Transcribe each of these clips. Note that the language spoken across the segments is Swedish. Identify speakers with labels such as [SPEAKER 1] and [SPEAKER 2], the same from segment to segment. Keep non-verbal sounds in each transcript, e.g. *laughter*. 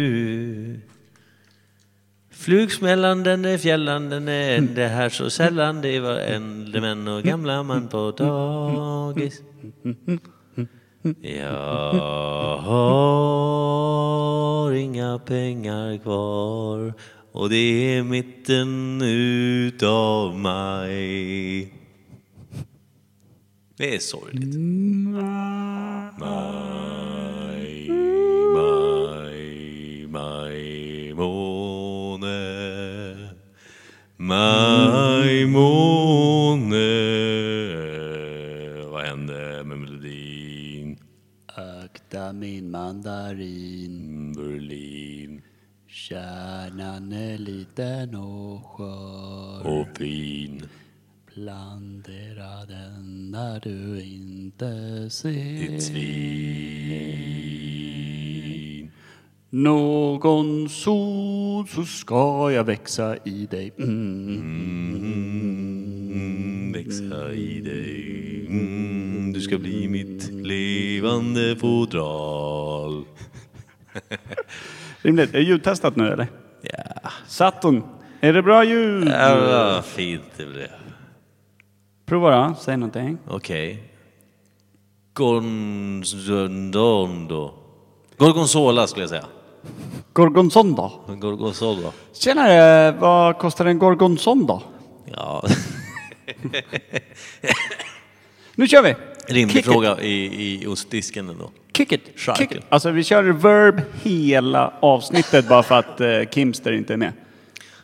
[SPEAKER 1] Du. Flugsmällanden fjällan är det här så sällan det var äldre män och gamla man på dagis. Jag har inga pengar kvar och det är mitten utav maj. Det är sorgligt. Maj, Mm. maj, maj måne. Maj måne. Vad hände med melodin?
[SPEAKER 2] Akta min mandarin.
[SPEAKER 1] Berlin
[SPEAKER 2] Kärnan är liten och skör.
[SPEAKER 1] och fin.
[SPEAKER 2] Plantera den där du inte
[SPEAKER 1] Ditt
[SPEAKER 2] ser.
[SPEAKER 1] svin.
[SPEAKER 2] Någon sol så ska jag växa i dig. Mm.
[SPEAKER 1] Mm, växa i dig. Mm, du ska bli mitt levande fodral.
[SPEAKER 3] Rimligt. Är det ljudtestat nu eller?
[SPEAKER 1] Ja,
[SPEAKER 3] Saturn. Är det bra ljud?
[SPEAKER 1] ja vad fint det blev.
[SPEAKER 3] Prova då. Säg någonting.
[SPEAKER 1] Okej. Gorgonzondo. Gorgonzola skulle jag säga.
[SPEAKER 3] Gorgonzonda.
[SPEAKER 1] Gorgonzola.
[SPEAKER 3] Tjenare! Vad kostar en gorgonzonda?
[SPEAKER 1] Ja, *laughs*
[SPEAKER 3] Nu kör vi!
[SPEAKER 1] rimlig
[SPEAKER 3] Kick it.
[SPEAKER 1] fråga i, i ostdisken ändå.
[SPEAKER 3] Kick it!
[SPEAKER 1] Sharken.
[SPEAKER 3] Kick it. Alltså vi kör reverb hela avsnittet bara för att eh, Kimster inte är med.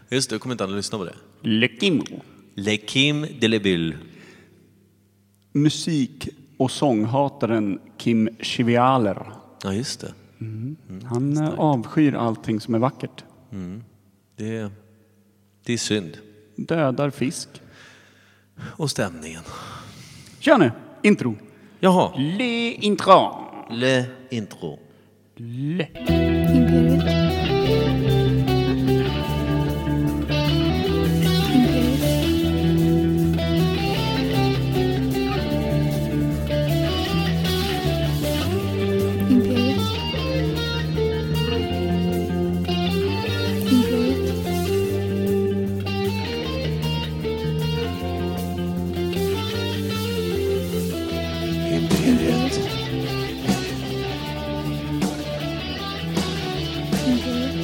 [SPEAKER 1] Just det, jag kommer inte att lyssna på det.
[SPEAKER 3] Lekimo.
[SPEAKER 1] Le Kim de la Bulle.
[SPEAKER 3] Musik och sånghataren Kim Chivialer.
[SPEAKER 1] Ja, just det.
[SPEAKER 3] Han eh, avskyr allting som är vackert.
[SPEAKER 1] det. Det är synd.
[SPEAKER 3] Dödar fisk.
[SPEAKER 1] Och stämningen.
[SPEAKER 3] Kör nu! Intro.
[SPEAKER 1] Jaha.
[SPEAKER 3] Le intro.
[SPEAKER 1] Le intro.
[SPEAKER 3] Le.
[SPEAKER 4] Imperial. Imperial. Imperial. Imperial. Imperial. Imperial.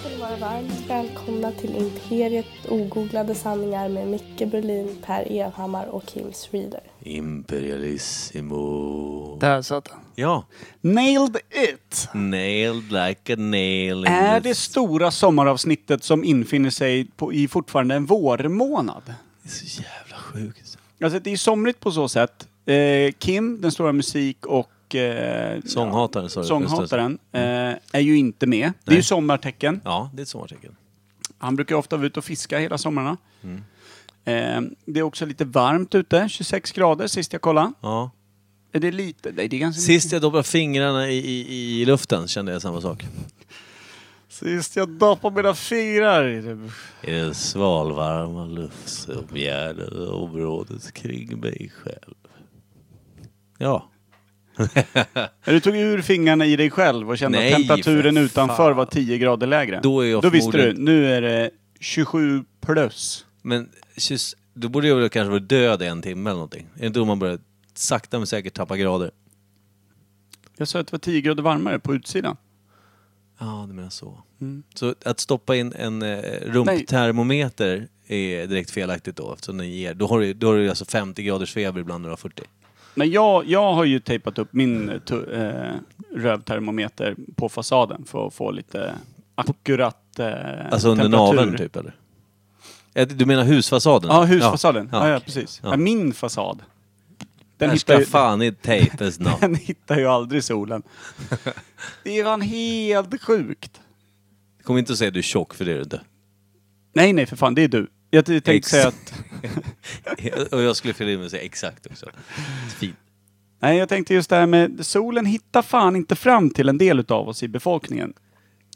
[SPEAKER 5] ska ni vara varmt välkomna till Imperiet ogooglade sanningar med Micke Berlin, Per Evhammar och Kim Schreeder.
[SPEAKER 1] Imperialissimo.
[SPEAKER 2] Där satt han.
[SPEAKER 1] Ja.
[SPEAKER 3] Nailed it!
[SPEAKER 1] Nailed like a nail. in
[SPEAKER 3] Är
[SPEAKER 1] the
[SPEAKER 3] det stora sommaravsnittet som infinner sig på, i fortfarande en vårmånad?
[SPEAKER 1] Det är så jävla sjukt.
[SPEAKER 3] Alltså det är somrigt på så sätt. Eh, Kim, den stora musik och eh,
[SPEAKER 1] Sånghataren sa
[SPEAKER 3] ja,
[SPEAKER 1] du.
[SPEAKER 3] sånghataren,
[SPEAKER 1] Mm.
[SPEAKER 3] eh, är ju inte med. Det är ju sommartecken.
[SPEAKER 1] Ja, det är ett sommartecken.
[SPEAKER 3] Han brukar ju ofta vara ute och fiska hela somrarna.
[SPEAKER 1] Mm.
[SPEAKER 3] Eh, det är också lite varmt ute, 26 grader sist jag kollade.
[SPEAKER 1] Ja.
[SPEAKER 3] Är det lite? Nej, det är ganska
[SPEAKER 1] Mm. Sist jag doppade fingrarna i, i, i luften kände jag samma sak.
[SPEAKER 3] sist jag doppade mina fingrar.
[SPEAKER 1] I den svalvarma luft som omgärdade området kring mig själv. Ja.
[SPEAKER 3] När du tog ur fingrarna i dig själv och kände
[SPEAKER 1] Nej,
[SPEAKER 3] att temperaturen
[SPEAKER 1] för
[SPEAKER 3] utanför
[SPEAKER 1] fan.
[SPEAKER 3] var 10 grader lägre.
[SPEAKER 1] Då är jag
[SPEAKER 3] Då visste du,
[SPEAKER 1] förmodligen-
[SPEAKER 3] nu är det 27 plus.
[SPEAKER 1] Men kyss, då borde jag väl kanske vara död i en timme eller någonting. Är det inte då man börjar sakta men säkert tappa grader?
[SPEAKER 3] Jag sa att det var 10 grader varmare på utsidan.
[SPEAKER 1] Ja, du menar så.
[SPEAKER 3] Mm.
[SPEAKER 1] Så att stoppa in en eh, rumptermometer är direkt felaktigt då eftersom den ger... Då har du, då har du alltså 50 graders feber ibland när du har 40.
[SPEAKER 3] Men jag, jag har ju tejpat upp min tu- eh, rövtermometer på fasaden för att få lite akkurat eh,
[SPEAKER 1] Alltså under
[SPEAKER 3] temperatur.
[SPEAKER 1] naveln typ eller? Eh, Du menar husfasaden?
[SPEAKER 3] Ja, husfasaden. Ja, ja, precis.
[SPEAKER 1] Ja.
[SPEAKER 3] Ja. min fasad. Den
[SPEAKER 1] Här
[SPEAKER 3] hittar,
[SPEAKER 1] ska
[SPEAKER 3] ju, *laughs*
[SPEAKER 1] fan i tejpes namn.
[SPEAKER 3] den hittar ju aldrig solen. Det är fan helt sjukt.
[SPEAKER 1] Kom inte att säga att du är tjock för det är du inte. *laughs*
[SPEAKER 3] Nej, nej för fan, det är du. Jag t- tänkte
[SPEAKER 1] Ex-
[SPEAKER 3] säga att...
[SPEAKER 1] Och jag skulle fylla i med att säga exakt också. Fint.
[SPEAKER 3] Nej, jag tänkte just det här med solen hittar fan inte fram till en del utav oss i befolkningen.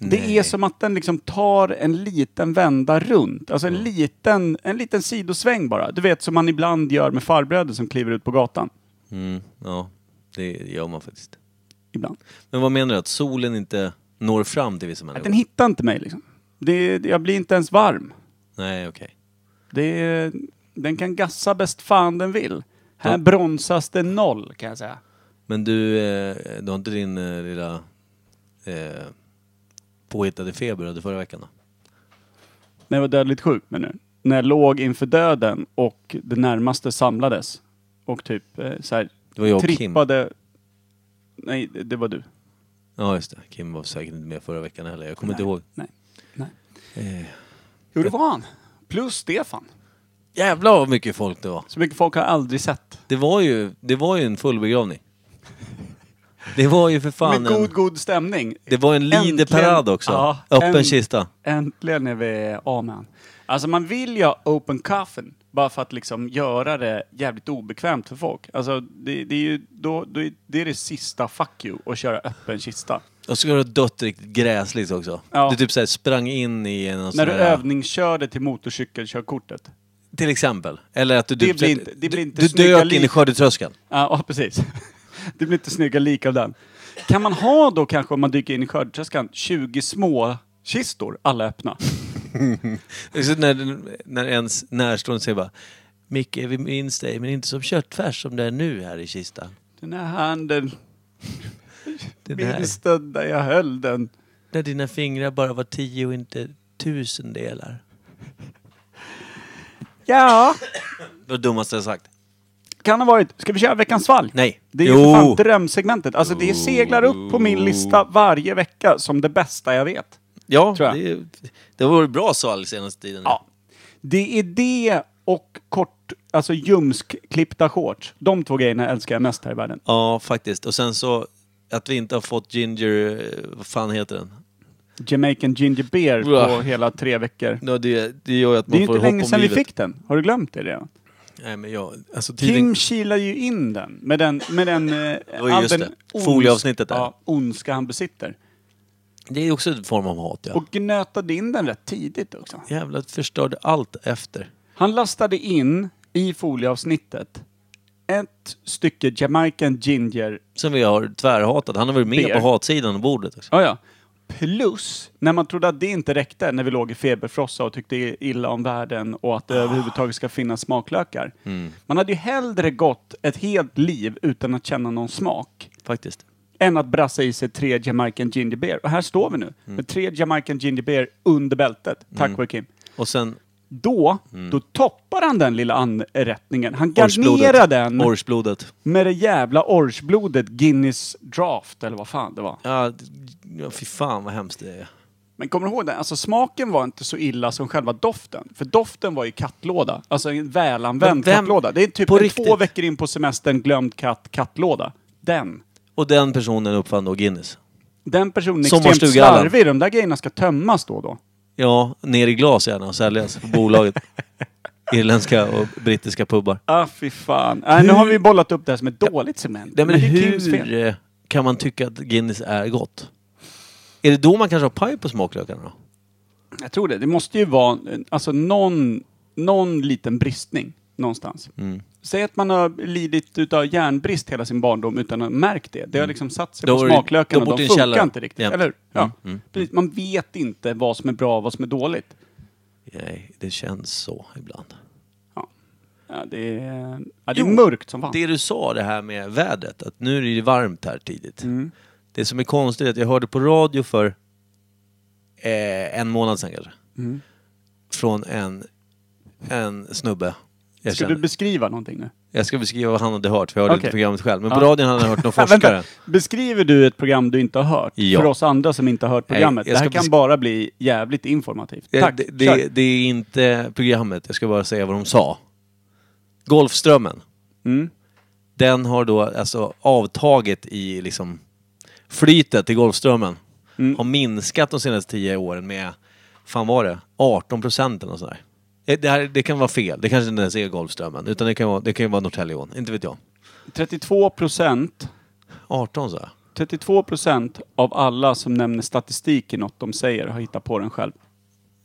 [SPEAKER 3] Det är som att den liksom tar en liten vända runt. Alltså en, liten, en liten sidosväng bara. Du vet som man ibland gör med farbröder som kliver ut på gatan.
[SPEAKER 1] Mm, ja, det gör man faktiskt.
[SPEAKER 3] Ibland.
[SPEAKER 1] Men vad menar du? Att solen inte når fram till vissa människor?
[SPEAKER 3] Den hittar inte mig liksom. Det, det- jag blir inte ens varm.
[SPEAKER 1] Nej, okej.
[SPEAKER 3] Det, den kan gassa bäst fan den vill. Här
[SPEAKER 1] Ja.
[SPEAKER 3] bromsas det noll kan jag säga.
[SPEAKER 1] Men du, eh, du har inte din eh, lilla eh, påhittade feber du hade förra veckan då?
[SPEAKER 3] När jag var dödligt sjuk men nu. När jag låg inför döden och det närmaste samlades. Och typ eh, så här,
[SPEAKER 1] Det var jag och Kim.
[SPEAKER 3] trippade... Nej, det det var du.
[SPEAKER 1] Ja, just det. Kim var säkert inte med förra veckan heller. Jag kommer inte
[SPEAKER 3] Nej.
[SPEAKER 1] ihåg.
[SPEAKER 3] Nej. Nej.
[SPEAKER 1] Eh,
[SPEAKER 3] Jo, det var han. Plus Stefan.
[SPEAKER 1] jävlar vad mycket folk det var.
[SPEAKER 3] Så mycket folk har jag aldrig sett.
[SPEAKER 1] Det var ju, det var ju en full begravning. Det var ju för fan
[SPEAKER 3] Med god,
[SPEAKER 1] en,
[SPEAKER 3] god stämning.
[SPEAKER 1] Det var en
[SPEAKER 3] Äntligen-
[SPEAKER 1] lideparad också.
[SPEAKER 3] Ja,
[SPEAKER 1] Öppen
[SPEAKER 3] en-
[SPEAKER 1] kista.
[SPEAKER 3] Äntligen är vi av med han. Alltså man vill ju ha open coffin. Bara för att liksom göra det jävligt obekvämt för folk. Alltså det, det är ju då, då, är- det är det sista fuck you att köra öppen kista.
[SPEAKER 1] Och så har du dött riktigt gräsligt också.
[SPEAKER 3] Ja.
[SPEAKER 1] Du typ så här sprang in i en sån
[SPEAKER 3] När du
[SPEAKER 1] här,
[SPEAKER 3] övningskörde till motorcykelkörkortet.
[SPEAKER 1] Till exempel. Eller att du,
[SPEAKER 3] Det
[SPEAKER 1] typ-
[SPEAKER 3] blir inte- det blir inte
[SPEAKER 1] du, du
[SPEAKER 3] snygga
[SPEAKER 1] dök in i
[SPEAKER 3] lik.
[SPEAKER 1] skördetröskan.
[SPEAKER 3] Ja, ja, precis. *laughs* Det blir inte snygga lik av den. Kan man ha då kanske, om man dyker in i skördetröskan, 20 små kistor, alla öppna?
[SPEAKER 1] Så när, när ens närstående säger bara Micke, vi minns dig, men inte som köttfärs som det är nu här i kistan.
[SPEAKER 3] Den här handen,
[SPEAKER 1] Den här,
[SPEAKER 3] minns den där jag höll den.
[SPEAKER 1] där dina fingrar bara var tio och inte tusen delar.
[SPEAKER 3] Ja,
[SPEAKER 1] Det var det dummaste jag sagt.
[SPEAKER 3] kan ha varit. Ska vi köra veckans svalg?
[SPEAKER 1] Nej.
[SPEAKER 3] Det är ju för fan drömsegmentet. Alltså det seglar upp på min lista varje vecka som det bästa jag vet.
[SPEAKER 1] Ja,
[SPEAKER 3] tror jag.
[SPEAKER 1] Det, det har varit bra svalg senaste tiden.
[SPEAKER 3] Ja. Det är det och kort, alltså ljumskklippta shorts. De två grejerna älskar jag mest här i världen.
[SPEAKER 1] ja, faktiskt. Och sen så att vi inte har fått Ginger, eh, vad fan heter den?
[SPEAKER 3] Jamaican Ginger Beer
[SPEAKER 1] Bra.
[SPEAKER 3] på hela tre veckor.
[SPEAKER 1] Ja, det, det gör ju att
[SPEAKER 3] Det är
[SPEAKER 1] man
[SPEAKER 3] ju
[SPEAKER 1] får hopp om
[SPEAKER 3] inte länge
[SPEAKER 1] livet.
[SPEAKER 3] sedan vi fick den. Har du glömt det redan?
[SPEAKER 1] Nej, men jag, alltså
[SPEAKER 3] Kim
[SPEAKER 1] tiden...
[SPEAKER 3] kilar ju in den med den... Med
[SPEAKER 1] *laughs*
[SPEAKER 3] den eh,
[SPEAKER 1] var ju
[SPEAKER 3] all
[SPEAKER 1] just
[SPEAKER 3] den
[SPEAKER 1] det.
[SPEAKER 3] ons-
[SPEAKER 1] Folieavsnittet där.
[SPEAKER 3] Ja, ondska han besitter.
[SPEAKER 1] Det är också en form av hat, ja.
[SPEAKER 3] Och gnötade in den rätt tidigt också.
[SPEAKER 1] Jävlar, förstörde allt efter.
[SPEAKER 3] Han lastade in i folieavsnittet ett stycke Jamaican Ginger
[SPEAKER 1] Som vi har tvärhatat. Han har varit med
[SPEAKER 3] Beer.
[SPEAKER 1] på hatsidan av bordet också.
[SPEAKER 3] Ja, ja. Plus, när man trodde att det inte räckte, när vi låg i feberfrossa och tyckte illa om världen och att det
[SPEAKER 1] Ah.
[SPEAKER 3] överhuvudtaget ska finnas smaklökar.
[SPEAKER 1] Mm.
[SPEAKER 3] Man hade ju hellre gått ett helt liv utan att känna någon smak,
[SPEAKER 1] Faktiskt.
[SPEAKER 3] än att brassa i sig tre Jamaican Ginger Beer. Och här står vi nu,
[SPEAKER 1] Mm.
[SPEAKER 3] med tre Jamaican Ginger Beer under bältet. Tack vare Kim.
[SPEAKER 1] Och sen
[SPEAKER 3] Då,
[SPEAKER 1] Mm.
[SPEAKER 3] då toppar han den lilla anrättningen. Han garnerar
[SPEAKER 1] orsblodet.
[SPEAKER 3] den
[SPEAKER 1] Orsblodet.
[SPEAKER 3] med det jävla orsblodet Guinness Draft, eller vad fan det var.
[SPEAKER 1] Ja, ja, fy fan vad hemskt det är.
[SPEAKER 3] Men kommer du ihåg den? Alltså smaken var inte så illa som själva doften. För doften var ju kattlåda. Alltså en
[SPEAKER 1] Men
[SPEAKER 3] välanvänd
[SPEAKER 1] vem-
[SPEAKER 3] kattlåda. Det är typ
[SPEAKER 1] på
[SPEAKER 3] en
[SPEAKER 1] riktigt?
[SPEAKER 3] två veckor in på semestern glömd katt, kattlåda. Den.
[SPEAKER 1] Och den personen uppfann då Guinness.
[SPEAKER 3] Den personen är extremt
[SPEAKER 1] Sommarstuga-Allan.
[SPEAKER 3] slarvig. De där grejerna ska tömmas då och då.
[SPEAKER 1] Ja, ner i glas gärna och säljas på
[SPEAKER 3] *laughs*
[SPEAKER 1] bolaget. Irländska och brittiska pubbar.
[SPEAKER 3] Ah fy fan. Nej, nu har vi bollat upp det här som ett dåligt cement.
[SPEAKER 1] Nej, men
[SPEAKER 3] det är Kims
[SPEAKER 1] hur
[SPEAKER 3] fel.
[SPEAKER 1] eh, kan man tycka att Guinness är gott? Är det då man kanske har paj på smaklökarna då?
[SPEAKER 3] Jag tror det. Det måste ju vara eh, alltså, någon, någon liten bristning någonstans.
[SPEAKER 1] Mm.
[SPEAKER 3] Säg att man har lidit utav järnbrist hela sin barndom utan att ha märkt det. Det har liksom satt sig
[SPEAKER 1] Mm. Då
[SPEAKER 3] på
[SPEAKER 1] har du-
[SPEAKER 3] smaklökarna
[SPEAKER 1] då bort
[SPEAKER 3] och de
[SPEAKER 1] i en
[SPEAKER 3] funkar
[SPEAKER 1] källare.
[SPEAKER 3] inte riktigt.
[SPEAKER 1] Jämt. Mm.
[SPEAKER 3] Eller hur? Ja. Precis. Man vet inte vad som är bra och vad som är dåligt.
[SPEAKER 1] Nej, det känns så ibland.
[SPEAKER 3] Ja, det är, ja, det är
[SPEAKER 1] Jo,
[SPEAKER 3] mörkt som fan.
[SPEAKER 1] Det du sa det här med vädret, att nu är det ju varmt här tidigt.
[SPEAKER 3] Mm.
[SPEAKER 1] Det som är konstigt är att jag hörde på radio för eh, en månad sedan kanske.
[SPEAKER 3] Mm.
[SPEAKER 1] Från en, en snubbe. Jag,
[SPEAKER 3] Ska
[SPEAKER 1] känner.
[SPEAKER 3] du beskriva någonting nu?
[SPEAKER 1] jag ska beskriva vad han hade hört, för jag hörde
[SPEAKER 3] Okej.
[SPEAKER 1] inte programmet själv. Men
[SPEAKER 3] Ja.
[SPEAKER 1] på radion hade han hört
[SPEAKER 3] *laughs*
[SPEAKER 1] någon
[SPEAKER 3] Ja,
[SPEAKER 1] forskare.
[SPEAKER 3] Beskriver du ett program du inte har hört?
[SPEAKER 1] Ja.
[SPEAKER 3] För oss andra som inte har hört
[SPEAKER 1] Nej,
[SPEAKER 3] programmet.
[SPEAKER 1] jag
[SPEAKER 3] det här
[SPEAKER 1] ska
[SPEAKER 3] kan
[SPEAKER 1] besk-
[SPEAKER 3] bara bli jävligt informativt.
[SPEAKER 1] Eh,
[SPEAKER 3] Tack,
[SPEAKER 1] det,
[SPEAKER 3] kör.
[SPEAKER 1] det, det är inte programmet, jag ska bara säga vad de sa. Golfströmmen.
[SPEAKER 3] Mm.
[SPEAKER 1] Den har då alltså avtaget i liksom flytet i Golfströmmen.
[SPEAKER 3] Mm.
[SPEAKER 1] Har minskat de senaste tio åren med, fan var det, 18 procent eller nåt sånt där. Eh, Det, här, det kan vara fel, det kanske inte ens är Golfströmmen. Utan det kan ju vara, det kan ju vara Norrtäljeån, inte vet jag.
[SPEAKER 3] 32 procent
[SPEAKER 1] 18 så.
[SPEAKER 3] 32 procent av alla som nämner statistik i något de säger har hittat på den själv.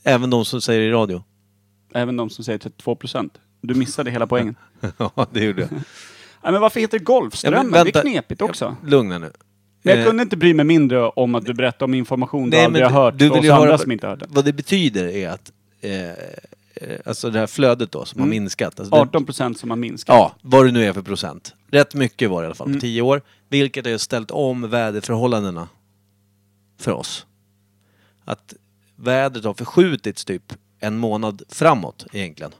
[SPEAKER 1] Även de som säger i radio. *laughs*
[SPEAKER 3] Även de som säger 32 procent. Du missade
[SPEAKER 1] *laughs*
[SPEAKER 3] hela poängen.
[SPEAKER 1] ja, det gjorde jag.
[SPEAKER 3] Nej, men varför heter det Golfströmmen?
[SPEAKER 1] Ja, men vänta.
[SPEAKER 3] Det är knepigt också.
[SPEAKER 1] Lugna nu.
[SPEAKER 3] Men jag
[SPEAKER 1] Eh,
[SPEAKER 3] kunde inte bry mig mindre om att du berättade om information du aldrig har hört och oss
[SPEAKER 1] ju
[SPEAKER 3] andra som inte har hört det.
[SPEAKER 1] Vad det betyder är att eh, eh, alltså det här flödet då som har
[SPEAKER 3] Mm.
[SPEAKER 1] minskat. Alltså det-
[SPEAKER 3] 18 procent som har minskat.
[SPEAKER 1] Ja, vad det nu är för procent. Rätt mycket var det i alla fall
[SPEAKER 3] Mm.
[SPEAKER 1] på tio år. Vilket har ju ställt om väderförhållandena för oss. Att vädret har förskjutits typ en månad framåt egentligen.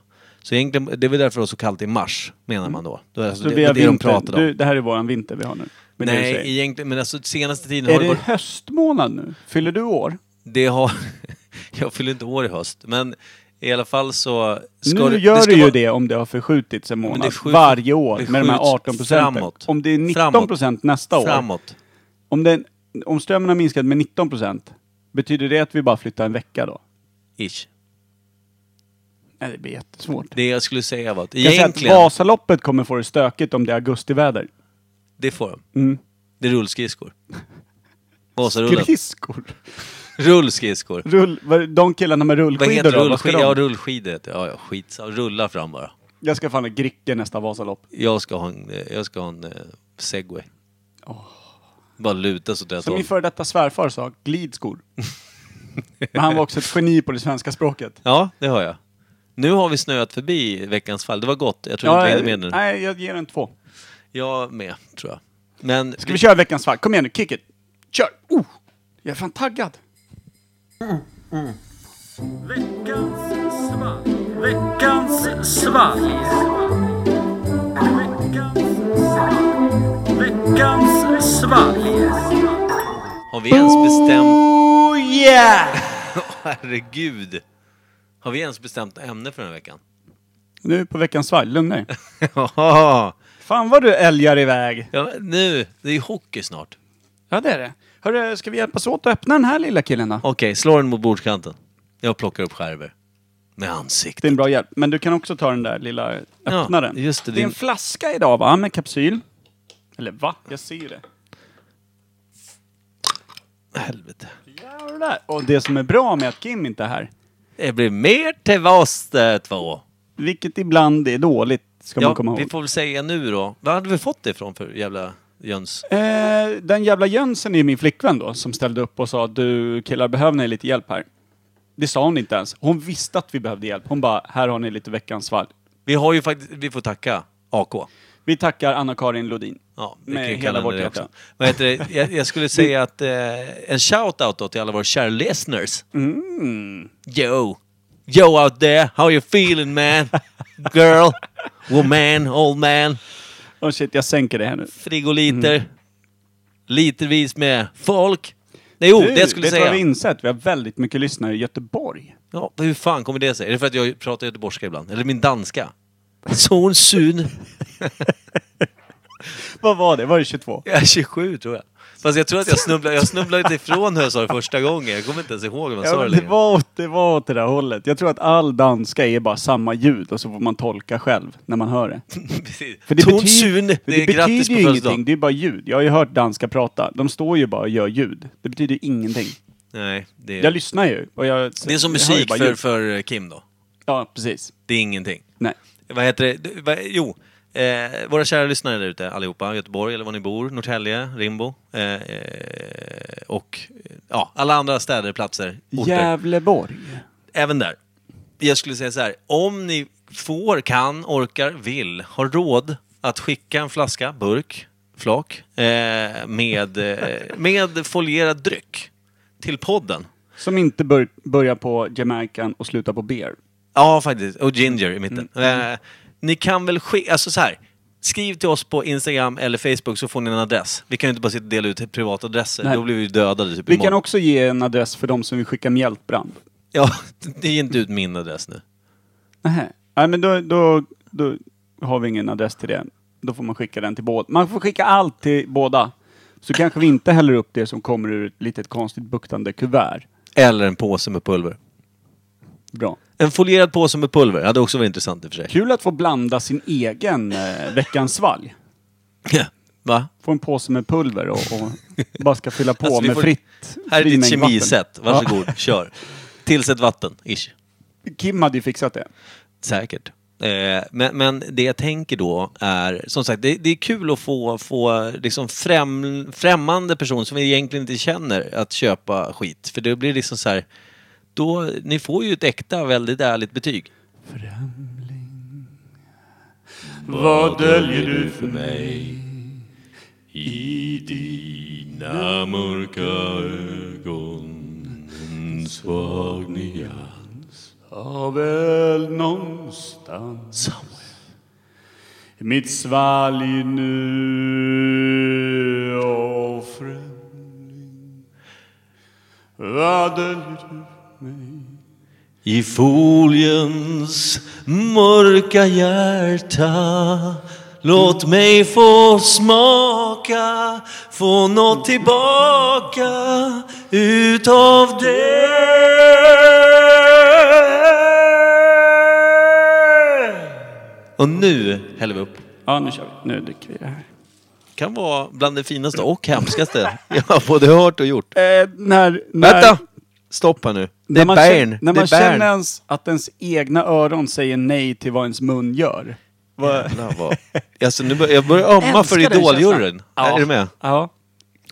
[SPEAKER 1] Så egentligen, det är väl därför det var så kallt i mars, menar man då. Det, är alltså
[SPEAKER 3] Mm. Så
[SPEAKER 1] det,
[SPEAKER 3] vi
[SPEAKER 1] det
[SPEAKER 3] har
[SPEAKER 1] är det de
[SPEAKER 3] vinter.
[SPEAKER 1] pratade om.
[SPEAKER 3] Du, det här är våran vinter vi har nu. Med det du
[SPEAKER 1] Nej,
[SPEAKER 3] säger.
[SPEAKER 1] egentligen, men alltså senaste tiden
[SPEAKER 3] Är
[SPEAKER 1] har
[SPEAKER 3] det
[SPEAKER 1] det varit...
[SPEAKER 3] höstmånad nu? Fyller du år?
[SPEAKER 1] Det har... *laughs* jag fyller inte år i höst, men i alla fall så...
[SPEAKER 3] nu
[SPEAKER 1] det-
[SPEAKER 3] gör
[SPEAKER 1] ska
[SPEAKER 3] du ju
[SPEAKER 1] vara-
[SPEAKER 3] det om det har förskjutits en
[SPEAKER 1] det
[SPEAKER 3] månad
[SPEAKER 1] skjuts-
[SPEAKER 3] varje år
[SPEAKER 1] det
[SPEAKER 3] med de här
[SPEAKER 1] skjuts
[SPEAKER 3] 18 procenten.
[SPEAKER 1] framåt.
[SPEAKER 3] Om det är 19
[SPEAKER 1] Framåt.
[SPEAKER 3] procent nästa år.
[SPEAKER 1] Framåt.
[SPEAKER 3] Om, den, om strömmen har minskat med 19 procent, betyder det att vi bara flyttar en vecka då?
[SPEAKER 1] Ish.
[SPEAKER 3] Nej, det blir jättesvårt.
[SPEAKER 1] Det jag skulle säga var att
[SPEAKER 3] Jag säger att
[SPEAKER 1] egentligen...
[SPEAKER 3] Vasaloppet kommer få det stökigt om det är augustiväder.
[SPEAKER 1] Det får de.
[SPEAKER 3] Mm.
[SPEAKER 1] Det är
[SPEAKER 3] *laughs*
[SPEAKER 1] rullskridskor. Vasarullen.
[SPEAKER 3] Skridskor.
[SPEAKER 1] Rullskridskor.
[SPEAKER 3] Rull, vad- de killarna med
[SPEAKER 1] Vad
[SPEAKER 3] rullskidor
[SPEAKER 1] heter
[SPEAKER 3] då? Vad ska
[SPEAKER 1] rullskidor? Ja,
[SPEAKER 3] de?
[SPEAKER 1] rullskidor heter det. Ja, ja, skit. Rulla fram bara.
[SPEAKER 3] Jag ska fan ha Gricke nästa Vasalopp.
[SPEAKER 1] Jag ska ha en, eh, jag ska ha en eh, segway. Bara luta så åt rätt
[SPEAKER 3] Som
[SPEAKER 1] håll.
[SPEAKER 3] min före detta svärfar sa, glidskor. Men han var också ett geni på det svenska språket.
[SPEAKER 1] Ja, det har jag. Nu har vi snöat förbi veckans fall. Det var gott. Jag tror inte jag hinner med nu.
[SPEAKER 3] nej, jag ger en två.
[SPEAKER 1] Jag med, tror jag. Men...
[SPEAKER 3] Ska vi köra veckans fall? Kom igen nu, kick it! Kör! Oh, jag är fan taggad!
[SPEAKER 1] Har vi ens bestämt...
[SPEAKER 3] Oh yeah!
[SPEAKER 1] *laughs* Herregud! Har vi ens bestämt ämne för den här veckan?
[SPEAKER 3] Nu på veckans fall, lugna dig.
[SPEAKER 1] Jaha!
[SPEAKER 3] Fan vad du älgar iväg!
[SPEAKER 1] ja, nu! Det är ju hockey snart.
[SPEAKER 3] Ja, det är det. Hörru, ska vi hjälpas åt att öppna den här lilla killen då?
[SPEAKER 1] Okej, slå den mot bordskanten. Jag plockar upp skärvor. Med
[SPEAKER 3] Det är
[SPEAKER 1] ansiktet.
[SPEAKER 3] en bra hjälp. Men du kan också ta den där lilla öppnaren.
[SPEAKER 1] just det,
[SPEAKER 3] det är en
[SPEAKER 1] din-
[SPEAKER 3] flaska idag va, med kapsyl. Eller va? Jag ser ju det.
[SPEAKER 1] Helvete.
[SPEAKER 3] Jävlar! Och det som är bra med att Kim inte är här,
[SPEAKER 1] Det blir mer till oss eh, två.
[SPEAKER 3] vilket ibland är dåligt, ska man komma
[SPEAKER 1] Ja,
[SPEAKER 3] ihåg.
[SPEAKER 1] vi får väl säga nu då. Var hade vi fått det ifrån för jävla Jöns?
[SPEAKER 3] Eh, den jävla Jönsen är ju min flickvän då, som ställde upp och sa att du killar, behöver ni lite hjälp här? Det sa hon inte ens. Hon visste att vi behövde hjälp. Hon bara, här har ni lite veckans fall.
[SPEAKER 1] Vi har ju faktiskt, vi får tacka AK.
[SPEAKER 3] Vi tackar Anna-Karin Lodin.
[SPEAKER 1] Ja, vi
[SPEAKER 3] Med
[SPEAKER 1] kan ju
[SPEAKER 3] hela
[SPEAKER 1] kalla
[SPEAKER 3] vårt
[SPEAKER 1] henne det
[SPEAKER 3] hjärta.
[SPEAKER 1] också. Vad heter det? Jag, jag
[SPEAKER 3] *laughs*
[SPEAKER 1] skulle säga att eh, en shout-out då till alla våra kära listeners.
[SPEAKER 3] Mm.
[SPEAKER 1] Yo! Yo out there, how you feeling man? Girl, woman, old man,
[SPEAKER 3] Åh shit, jag sänker det här nu.
[SPEAKER 1] frigoliter,
[SPEAKER 3] Mm.
[SPEAKER 1] litervis med folk. Nej, jo,
[SPEAKER 3] Du,
[SPEAKER 1] det skulle
[SPEAKER 3] vet
[SPEAKER 1] jag
[SPEAKER 3] du vad vi
[SPEAKER 1] säga.
[SPEAKER 3] insett? Vi har väldigt mycket lyssnare i Göteborg.
[SPEAKER 1] Ja, hur fan kommer det sig? Är det för att jag pratar göteborgska ibland? Eller min danska? Son, sun.
[SPEAKER 3] Vad var det? Var det 22?
[SPEAKER 1] Jag är 27 tror jag. Fast jag tror att jag snubblade, jag snubblade lite ifrån hur jag sa det första gången. Jag kommer inte ens ihåg hur man
[SPEAKER 3] Ja,
[SPEAKER 1] sa det
[SPEAKER 3] men det,
[SPEAKER 1] längre.
[SPEAKER 3] var åt, det var åt det där hållet. Jag tror att all danska är bara samma ljud och så får man tolka själv när man hör det.
[SPEAKER 1] *laughs* Precis.
[SPEAKER 3] För det
[SPEAKER 1] Ton
[SPEAKER 3] betyder-
[SPEAKER 1] sun,
[SPEAKER 3] för
[SPEAKER 1] det är grattis på
[SPEAKER 3] ju ingenting,
[SPEAKER 1] födelsedagen.
[SPEAKER 3] det är bara ljud. Jag har ju hört danska prata. De står ju bara och gör ljud. Det betyder ju ingenting.
[SPEAKER 1] Nej, det
[SPEAKER 3] Jag
[SPEAKER 1] är,
[SPEAKER 3] lyssnar ju. Och jag,
[SPEAKER 1] det är som
[SPEAKER 3] jag hör ju
[SPEAKER 1] musik
[SPEAKER 3] bara
[SPEAKER 1] för,
[SPEAKER 3] ljud.
[SPEAKER 1] för Kim då.
[SPEAKER 3] Ja, precis.
[SPEAKER 1] Det är ingenting.
[SPEAKER 3] Nej.
[SPEAKER 1] Vad heter det? Du, vad- Jo, eh, våra kära lyssnare där ute allihopa, Göteborg eller var ni bor, Norrtälje, Rimbo eh, eh, och eh, ja, alla andra städer, platser, orter.
[SPEAKER 3] Gävleborg.
[SPEAKER 1] även där. Jag skulle säga så här, om ni får, kan, orkar, vill, har råd att skicka en flaska, burk, flak, eh, med, eh, med folierad dryck till podden.
[SPEAKER 3] Som inte bör, börjar på Jamaican och slutar på beer.
[SPEAKER 1] Ja, faktiskt. Och ginger i mitten.
[SPEAKER 3] Mm.
[SPEAKER 1] Eh, ni kan väl skicka, alltså så här, skriv till oss på Instagram eller Facebook så får ni en adress. Vi kan ju inte bara sitta och dela ut privatadresser,
[SPEAKER 3] Nej.
[SPEAKER 1] då blir vi ju dödade typ
[SPEAKER 3] Vi
[SPEAKER 1] imorgon.
[SPEAKER 3] kan också ge en adress för de som vill skicka mjältbrand.
[SPEAKER 1] Ja, *laughs* det är inte ut min adress nu.
[SPEAKER 3] Nähä. Nej, men då, då, då har vi ingen adress till det. Då får man skicka den till båda. Man får skicka allt till båda. Så kanske vi inte häller upp det som kommer ur ett litet konstigt buktande kuvert.
[SPEAKER 1] Eller en påse med pulver.
[SPEAKER 3] Bra.
[SPEAKER 1] En folierad påse med pulver hade också varit intressant i och för sig.
[SPEAKER 3] Kul att få blanda sin egen eh, veckans svalg.
[SPEAKER 1] Va?
[SPEAKER 3] Får en påse med pulver och, och bara ska fylla på
[SPEAKER 1] Alltså, vi
[SPEAKER 3] med
[SPEAKER 1] får-
[SPEAKER 3] fritt
[SPEAKER 1] Här är
[SPEAKER 3] fri
[SPEAKER 1] ditt
[SPEAKER 3] mängd vatten.
[SPEAKER 1] kemiset. Varsågod, kör. Tillsätt vatten, ish.
[SPEAKER 3] Kim hade ju fixat det.
[SPEAKER 1] Säkert. Eh, men, men det jag tänker då är, som sagt, det, det är kul att få, få liksom främ, främmande person som vi egentligen inte känner att köpa skit. För det blir liksom så här, då, ni får ju ett äkta, väldigt ärligt betyg.
[SPEAKER 2] Vad döljer du för mig i dina mörka ögon? En svag nyans har väl någonstans mitt svalg nu och främling. Vad döljer du?
[SPEAKER 1] I foliens mörka hjärta Låt mig få smaka, få något tillbaka utav det Och nu häller vi upp.
[SPEAKER 3] Ja, nu kör vi. Nu dricker vi det
[SPEAKER 1] Eh,
[SPEAKER 3] här.
[SPEAKER 1] Kan vara bland det finaste och hemskaste jag har både hört och gjort.
[SPEAKER 3] Eh, när, när,
[SPEAKER 1] Vänta! Stoppa nu. Det är
[SPEAKER 3] man,
[SPEAKER 1] bärn.
[SPEAKER 3] känner- när
[SPEAKER 1] Det är
[SPEAKER 3] man
[SPEAKER 1] bärn.
[SPEAKER 3] känner ens att ens egna öron säger nej till vad ens mun gör. Vad-
[SPEAKER 1] Jävlar vad... Alltså, nu bör, jag börjar ömma för
[SPEAKER 3] Älskar den
[SPEAKER 1] Idoljuryn.
[SPEAKER 3] känslan. Ja.
[SPEAKER 1] Är du med?
[SPEAKER 3] Ja.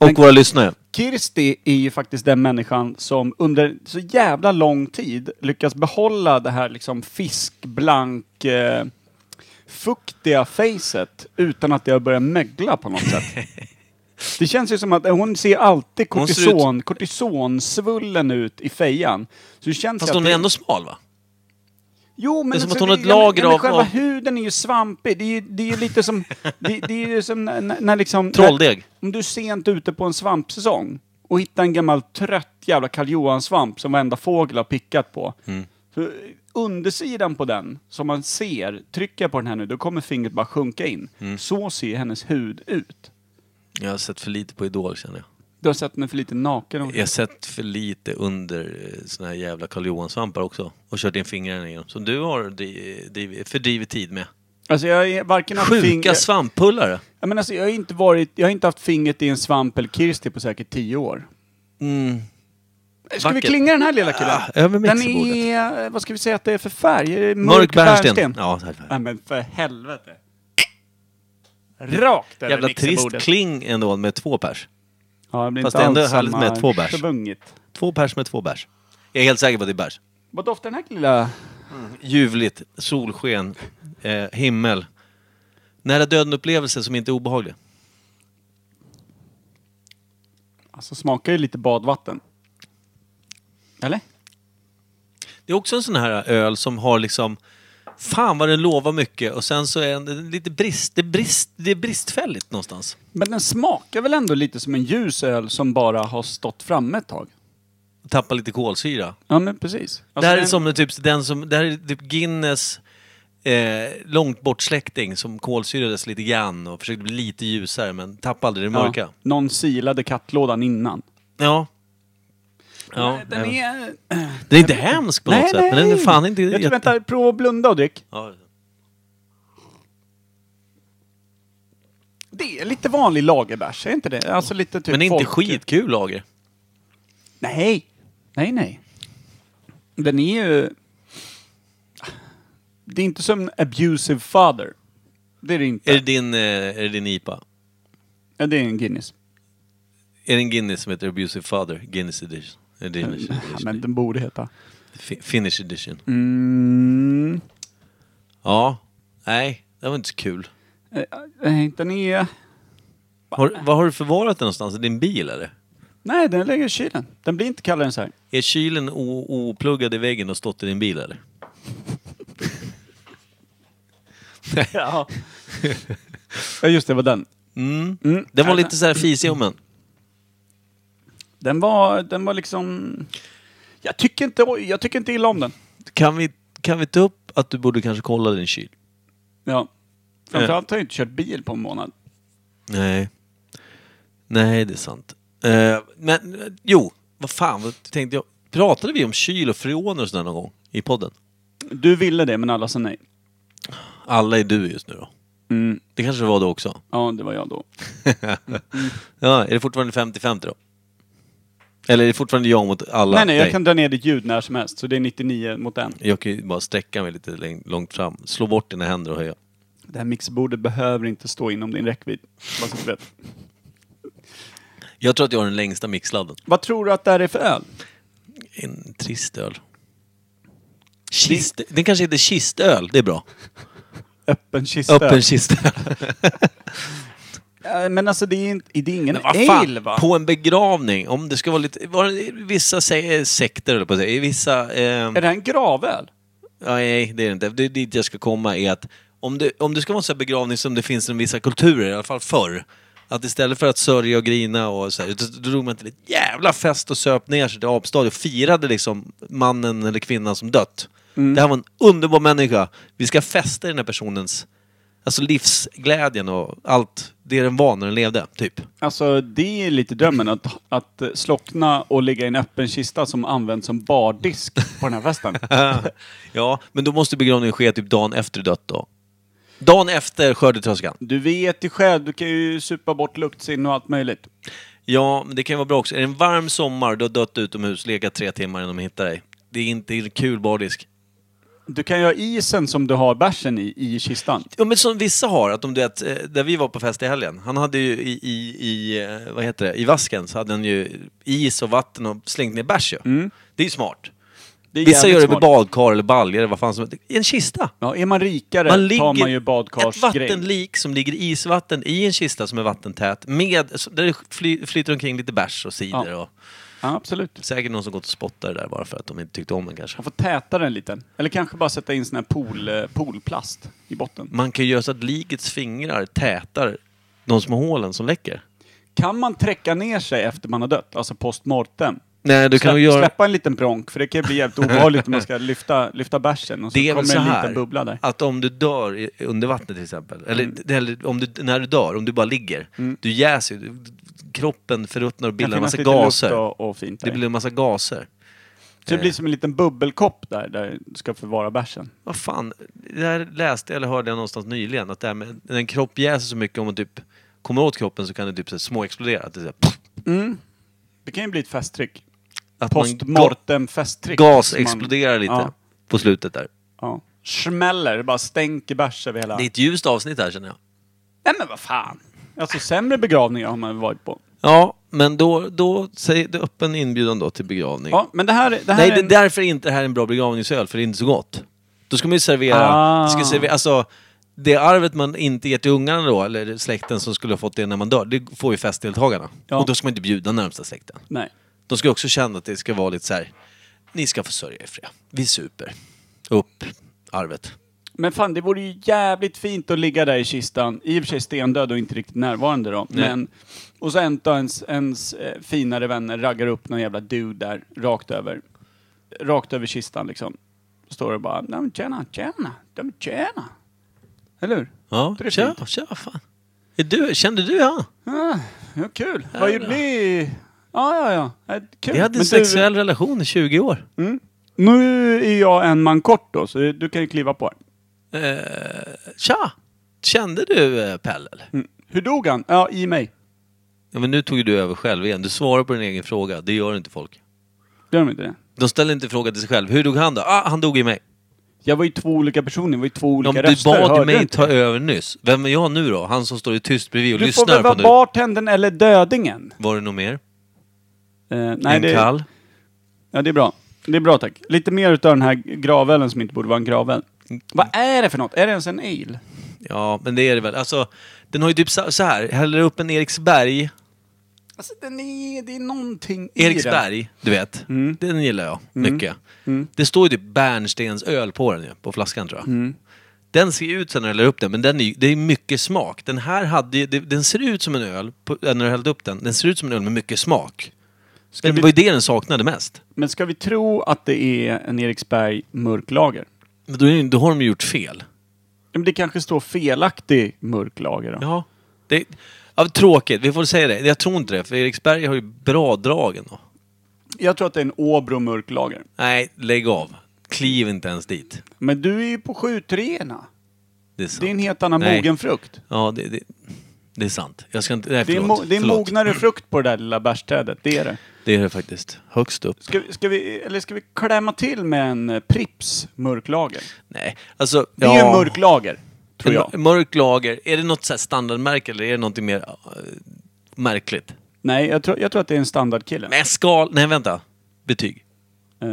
[SPEAKER 1] Och våra lyssnare.
[SPEAKER 3] Kirsti är ju faktiskt den människan som under så jävla lång tid lyckas behålla det här liksom fiskblank, eh, fuktiga facet utan att det har börjat mögla på något
[SPEAKER 1] *laughs*
[SPEAKER 3] sätt. Det känns ju som att eh, hon ser alltid
[SPEAKER 1] Hon ser
[SPEAKER 3] kortison, kortisonsvullen ut i fejan. Så det känns
[SPEAKER 1] Fast
[SPEAKER 3] ju att
[SPEAKER 1] hon är
[SPEAKER 3] det-
[SPEAKER 1] ändå smal va?
[SPEAKER 3] Jo, men
[SPEAKER 1] Det är som
[SPEAKER 3] alltså,
[SPEAKER 1] att hon har ett
[SPEAKER 3] ja, men-
[SPEAKER 1] lager
[SPEAKER 3] ja, men
[SPEAKER 1] av-
[SPEAKER 3] Själva
[SPEAKER 1] av-
[SPEAKER 3] huden är ju svampig. Det är ju, det är ju lite som... Det, det är ju som när, när, när liksom...
[SPEAKER 1] Trolldeg.
[SPEAKER 3] När, om du är sent ute på en svampsäsong och hittar en gammal trött jävla Karl svamp som varenda fågel har pickat på.
[SPEAKER 1] Mm.
[SPEAKER 3] Så undersidan på den, som man ser, trycker jag på den här nu, då kommer fingret bara sjunka in.
[SPEAKER 1] Mm.
[SPEAKER 3] Så ser hennes hud ut.
[SPEAKER 1] Jag har sett för lite på Idol känner jag.
[SPEAKER 3] Du har sett mig för lite naken. Och...
[SPEAKER 1] Jag har sett för lite under eh, såna här jävla Karl Johan-svampar också. Och kört in fingrarna i dem. Som du har dri- driv- fördrivit tid med.
[SPEAKER 3] Alltså jag är varken haft finger-
[SPEAKER 1] Sjuka svamppullare.
[SPEAKER 3] Ja, men alltså, jag, har inte varit, jag har inte haft fingret i en svamp eller Kirsti på säkert tio år.
[SPEAKER 1] Mm.
[SPEAKER 3] Ska vi
[SPEAKER 1] Vackert.
[SPEAKER 3] klinga den här lilla killen?
[SPEAKER 1] Ah, över
[SPEAKER 3] den
[SPEAKER 1] mixerbordet.
[SPEAKER 3] är, eh, vad ska vi säga att det är för färg? Är det Mörk,
[SPEAKER 1] Mörk bärnsten. Ja, så här.
[SPEAKER 3] Nej men för helvete. Rakt över
[SPEAKER 1] Jävla trist
[SPEAKER 3] mixerbordet.
[SPEAKER 1] kling ändå med två pers.
[SPEAKER 3] Ja, det blir
[SPEAKER 1] Fast
[SPEAKER 3] inte
[SPEAKER 1] ändå
[SPEAKER 3] alls
[SPEAKER 1] härligt
[SPEAKER 3] samma
[SPEAKER 1] med två bärs.
[SPEAKER 3] svunget.
[SPEAKER 1] Två pers med två bärs. Jag är helt säker på att det är bärs.
[SPEAKER 3] Vad doftar den här lilla...
[SPEAKER 1] Ljuvligt, solsken, eh, himmel. Nära döden-upplevelse som inte är obehaglig.
[SPEAKER 3] Alltså smakar ju lite badvatten. Eller?
[SPEAKER 1] Det är också en sån här öl som har liksom... Fan vad den lovar mycket och sen så är den- den lite brist... Det, är brist, det är bristfälligt någonstans.
[SPEAKER 3] Men den smakar väl ändå lite som en ljus öl som bara har stått framme ett tag?
[SPEAKER 1] Tappar lite kolsyra.
[SPEAKER 3] Ja men precis. Alltså,
[SPEAKER 1] det här är
[SPEAKER 3] den-
[SPEAKER 1] som typ, den som... Det här är typ Guinness eh, långt bort släkting som kolsyrades lite grann och försökte bli lite ljusare men tappade aldrig det mörka.
[SPEAKER 3] Ja, någon silade kattlådan innan.
[SPEAKER 1] Ja. Ja,
[SPEAKER 3] Nej, den är...
[SPEAKER 1] Den är inte hemsk på något sätt, men den är fan inte...
[SPEAKER 3] Jag tror,
[SPEAKER 1] jätte-
[SPEAKER 3] vänta, prova att blunda och drick.
[SPEAKER 1] Ja.
[SPEAKER 3] Det är lite vanlig lagerbärs, är inte det? Alltså lite typ
[SPEAKER 1] Men det är inte
[SPEAKER 3] folk-
[SPEAKER 1] skitkul lager.
[SPEAKER 3] Nej. Nej, nej. Den är ju... Det är inte som en abusive father. Det är det inte.
[SPEAKER 1] Är det din, eh, är det din IPA?
[SPEAKER 3] Ja, det är en Guinness.
[SPEAKER 1] Är det en Guinness som heter Abusive Father? Guinness Edition? Edition.
[SPEAKER 3] Ja, men den borde heta.
[SPEAKER 1] Fi- Finnish Edition?
[SPEAKER 3] Mm.
[SPEAKER 1] Ja. Nej, det var inte så kul.
[SPEAKER 3] Nej, Eh, Den är...
[SPEAKER 1] Har, vad har du förvarat den någonstans? I din bil eller?
[SPEAKER 3] Nej, den ligger i kylen. Den blir inte kallare än så här.
[SPEAKER 1] Är kylen o- opluggad i väggen och stått i din bil eller?
[SPEAKER 3] *laughs* Ja. ja, just det, var den.
[SPEAKER 1] Mm.
[SPEAKER 3] Mm.
[SPEAKER 1] Den var lite så här fisig om en.
[SPEAKER 3] Den var, den var liksom... Jag tycker inte, oj, jag tycker inte illa om den.
[SPEAKER 1] Kan vi, kan vi ta upp att du borde kanske kolla din kyl?
[SPEAKER 3] Ja. Framförallt har jag inte kört bil på en månad.
[SPEAKER 1] Nej. Nej, det är sant. Eh, men eh, jo, vad fan vad tänkte jag? Pratade vi om kyl och freoner och sådär någon gång i podden?
[SPEAKER 3] Du ville det, men alla sa nej.
[SPEAKER 1] Alla är du just nu då.
[SPEAKER 3] Mm.
[SPEAKER 1] Det kanske var då
[SPEAKER 3] *laughs*
[SPEAKER 1] också.
[SPEAKER 3] Ja, det var jag då.
[SPEAKER 1] Ja, är det fortfarande 50-50 då? Eller är det fortfarande jag mot alla?
[SPEAKER 3] nej, nej, jag
[SPEAKER 1] dig?
[SPEAKER 3] kan dra ner ditt ljud när som helst. Så det är 99 mot en.
[SPEAKER 1] jag kan ju bara sträcka mig lite läng- långt fram. Slå bort dina händer och höja.
[SPEAKER 3] Det här mixerbordet behöver inte stå inom din räckvidd. Bara så att du vet.
[SPEAKER 1] Jag tror att jag har den längsta mixladden.
[SPEAKER 3] Vad tror du att det här är för öl?
[SPEAKER 1] En trist öl. Kist, den kanske heter kistöl, det är bra.
[SPEAKER 3] Öppen kista?
[SPEAKER 1] Öppen
[SPEAKER 3] *laughs*
[SPEAKER 1] kistöl.
[SPEAKER 3] Eh, Men alltså det är, inte, det är ingen
[SPEAKER 1] Vad fan,
[SPEAKER 3] ale va?
[SPEAKER 1] På en begravning, om det ska vara lite... Var det, vissa se, sekter, eller på att säga. i Vissa... ehm,
[SPEAKER 3] Är det här en gravöl?
[SPEAKER 1] Nej, det är det inte. Det är dit jag ska komma är att om det, om det ska vara en sån här begravning som det finns i vissa kulturer, i alla fall förr, att istället för att sörja och grina och så här, då då drog man till ett jävla fest och söp ner sig till apstadion och firade liksom mannen eller kvinnan som dött. Det här var en underbar människa. Vi ska festa i den här personens alltså livsglädjen och allt det den var när den levde, typ.
[SPEAKER 3] Alltså det är lite drömmen att, att slockna och ligga i en öppen kista som används som bardisk på den här festen.
[SPEAKER 1] ja, men då måste begravningen ske typ dagen efter dött då. Dagen efter skördetröskan.
[SPEAKER 3] Du vet ju själv, du kan ju supa bort luktsinne och allt möjligt.
[SPEAKER 1] Ja, men det kan ju vara bra också. Är det en varm sommar, du har dött utomhus, legat tre timmar innan de hittar dig. Det är inte kul bardisk.
[SPEAKER 3] Du kan ju ha isen som du har bärsen i, i kistan.
[SPEAKER 1] Ja, men som vissa har, att om du vet, eh, där vi var på fest i helgen, han hade ju i, i, i eh, vad heter det, i vasken så hade han ju is och vatten och slängt ner bärs ju. Det är ju smart.
[SPEAKER 3] Mm. Det är
[SPEAKER 1] Vissa
[SPEAKER 3] jävligt
[SPEAKER 1] gör det med
[SPEAKER 3] smart.
[SPEAKER 1] badkar eller baljor eller vad fan som helst. I en kista!
[SPEAKER 3] Ja, är man rikare
[SPEAKER 1] Man ligger,
[SPEAKER 3] tar man ju
[SPEAKER 1] ett
[SPEAKER 3] badkarsgrej.
[SPEAKER 1] vattenlik som ligger i isvatten i en kista som är vattentät, med, där det fly, flyter omkring lite bärs och cider
[SPEAKER 3] Ja.
[SPEAKER 1] och
[SPEAKER 3] Ja, absolut.
[SPEAKER 1] säkert någon som gått och spottat det där bara för att de inte tyckte om den kanske.
[SPEAKER 3] Man får täta den lite. Eller kanske bara sätta in sån här pool, eh, poolplast i botten.
[SPEAKER 1] Man kan ju göra så att likets fingrar tätar de små hålen som läcker.
[SPEAKER 3] Kan man träcka ner sig efter man har dött? Alltså postmortem?
[SPEAKER 1] Nej, du kan
[SPEAKER 3] Släpp,
[SPEAKER 1] ju göra...
[SPEAKER 3] Släppa en liten prånk, för det kan ju bli jävligt obehagligt om man ska lyfta, lyfta bärsen och så
[SPEAKER 1] Det är
[SPEAKER 3] kommer
[SPEAKER 1] väl så
[SPEAKER 3] en
[SPEAKER 1] här,
[SPEAKER 3] liten bubbla där.
[SPEAKER 1] att om du dör i- under vattnet till exempel, eller,
[SPEAKER 3] Mm.
[SPEAKER 1] eller om du, när du dör, om du bara ligger, du jäser ju, du- kroppen förruttnar och
[SPEAKER 3] Det Mm. kan
[SPEAKER 1] bildar en massa
[SPEAKER 3] finnas lite luft
[SPEAKER 1] gaser.
[SPEAKER 3] Och, och fint
[SPEAKER 1] Det
[SPEAKER 3] där.
[SPEAKER 1] blir en massa gaser.
[SPEAKER 3] Så det blir som en liten bubbelkopp där, där du ska förvara bärsen.
[SPEAKER 1] Vad fan, det här läste jag eller hörde jag någonstans nyligen, att det här med, när en kropp jäser så mycket, om man typ kommer åt kroppen så kan det typ så här småexplodera. Att, det är så här,
[SPEAKER 3] Det kan ju bli ett festtryck.
[SPEAKER 1] att man ga-
[SPEAKER 3] Postmortem festtryck.
[SPEAKER 1] gas
[SPEAKER 3] Som man-
[SPEAKER 1] exploderar lite
[SPEAKER 3] Ja,
[SPEAKER 1] på slutet där.
[SPEAKER 3] ja. Smäller, det bara stänker bärs över hela...
[SPEAKER 1] Det är ett ljust avsnitt här känner jag.
[SPEAKER 3] Nej men vad fan! Alltså sämre begravningar har man varit på.
[SPEAKER 1] Ja, men då, då säg det öppen inbjudan då till begravning.
[SPEAKER 3] Ja, men det här, det här
[SPEAKER 1] Nej,
[SPEAKER 3] är
[SPEAKER 1] det,
[SPEAKER 3] en-
[SPEAKER 1] därför är inte det här är en bra begravningsöl, för det är inte så gott. Då ska man ju servera,
[SPEAKER 3] Ah.
[SPEAKER 1] det ska servera alltså, det arvet man inte ger till ungarna då, eller släkten som skulle ha fått det när man dör, det får ju festdeltagarna.
[SPEAKER 3] Ja.
[SPEAKER 1] Och då ska man inte bjuda närmsta släkten.
[SPEAKER 3] Nej.
[SPEAKER 1] De ska ju också känna att det ska vara lite så här. ni ska försörja er fria. Vi super. Upp arvet.
[SPEAKER 3] Men fan, det vore ju jävligt fint att ligga där i kistan. I och för sig stendöd och inte riktigt närvarande då.
[SPEAKER 1] Nej.
[SPEAKER 3] Men, och så en av ens, ens eh, finare vänner raggar upp någon jävla dude där, rakt över. Rakt över kistan liksom. Står och bara, "Nej, men tjena, tjena, nej, men tjena. Eller hur?
[SPEAKER 1] Ja,
[SPEAKER 3] Det är
[SPEAKER 1] kör,
[SPEAKER 3] fint.
[SPEAKER 1] kör fan. Är du, kände du han?
[SPEAKER 3] Ah, ja, kul. Vad gjorde ni? Ja, ja, ja. Äh, Kul.
[SPEAKER 1] Vi hade
[SPEAKER 3] Men
[SPEAKER 1] en sexuell relation i 20 år.
[SPEAKER 3] Du, nu är jag en man kort då, så du kan ju kliva på här.
[SPEAKER 1] Eh, Tja! Kände du eh, Pelle? eller?
[SPEAKER 3] Mm. Hur dog han? Ja, i mig.
[SPEAKER 1] Ja, men nu tog ju du över själv igen. Du svarar på din egen fråga. Det gör inte folk.
[SPEAKER 3] Gör de inte det?
[SPEAKER 1] De ställer inte frågan till sig själv. Hur dog han då? Ah, han dog i mig.
[SPEAKER 3] Jag var ju två olika personer, det var ju två
[SPEAKER 1] Ja,
[SPEAKER 3] olika
[SPEAKER 1] men du
[SPEAKER 3] röster.
[SPEAKER 1] bad ju
[SPEAKER 3] hörde du
[SPEAKER 1] mig
[SPEAKER 3] inte?
[SPEAKER 1] ta över nyss. Vem är jag nu då? Han som står i tyst bredvid och
[SPEAKER 3] Du får
[SPEAKER 1] lyssnar
[SPEAKER 3] väl
[SPEAKER 1] på
[SPEAKER 3] vara
[SPEAKER 1] nu.
[SPEAKER 3] bartendern eller dödingen?
[SPEAKER 1] Var det något mer?
[SPEAKER 3] Eh,
[SPEAKER 1] Nej,
[SPEAKER 3] nej,
[SPEAKER 1] en
[SPEAKER 3] det,
[SPEAKER 1] kall?
[SPEAKER 3] ja, det är bra. Det är bra tack. Lite mer utav den här gravölen som inte borde vara en gravöl.
[SPEAKER 1] Mm.
[SPEAKER 3] Vad är det för något? Är det ens en ale?
[SPEAKER 1] Ja, men det är det väl. Alltså, den har ju typ så så här. Häller upp en Eriksberg.
[SPEAKER 3] Alltså den är, det är någonting i Mm.
[SPEAKER 1] Eriksberg, du vet. Den gillar jag mycket. Det står ju typ Bärnstens öl på den ju, på flaskan tror jag.
[SPEAKER 3] Mm.
[SPEAKER 1] Den ser ju ut sen när du häller upp den, men den är, ju- det är mycket smak. Den här hade ju- det, den ser ut som en öl, på, äh, när du hällde upp den. Den ser ut som en öl med mycket smak.
[SPEAKER 3] Ska
[SPEAKER 1] Men
[SPEAKER 3] vi-
[SPEAKER 1] det var ju det den saknade mest.
[SPEAKER 3] den. Men ska vi tro att det är en Eriksberg mörklager?
[SPEAKER 1] Men då, är, det- då har de ju gjort fel.
[SPEAKER 3] Ja, Men det kanske står felaktig mörklager då?
[SPEAKER 1] Ja. Det, ja, tråkigt, vi får säga det. Jag tror inte det, för Eriksberg har ju bra drag ändå.
[SPEAKER 3] Jag tror att det är en Åbro mörklager.
[SPEAKER 1] Nej, lägg av. Kliv inte ens dit.
[SPEAKER 3] Men du är ju på 7 -treorna.
[SPEAKER 1] Det är sant.
[SPEAKER 3] Det är en helt annan
[SPEAKER 1] Nej.
[SPEAKER 3] mogen frukt.
[SPEAKER 1] Ja, det, det, det är sant. Jag ska inte... Nej,
[SPEAKER 3] Det är,
[SPEAKER 1] förlåt.
[SPEAKER 3] mo- det är
[SPEAKER 1] förlåt. Mm.
[SPEAKER 3] mognare frukt på det där lilla bärsträdet, det är det.
[SPEAKER 1] Det är det faktiskt. Högst upp.
[SPEAKER 3] Ska, vi- ska, vi, eller ska vi klämma till med en eh, Pripps mörklager?
[SPEAKER 1] Nej, alltså...
[SPEAKER 3] Det är ju en mörk lager, tror jag.
[SPEAKER 1] En mörk lager. Är det något så här standardmärke eller är det något mer eh, märkligt?
[SPEAKER 3] Nej, jag tror, jag tror att det är en standardkille.
[SPEAKER 1] Men skal... Nej, vänta. Betyg.
[SPEAKER 3] Eh,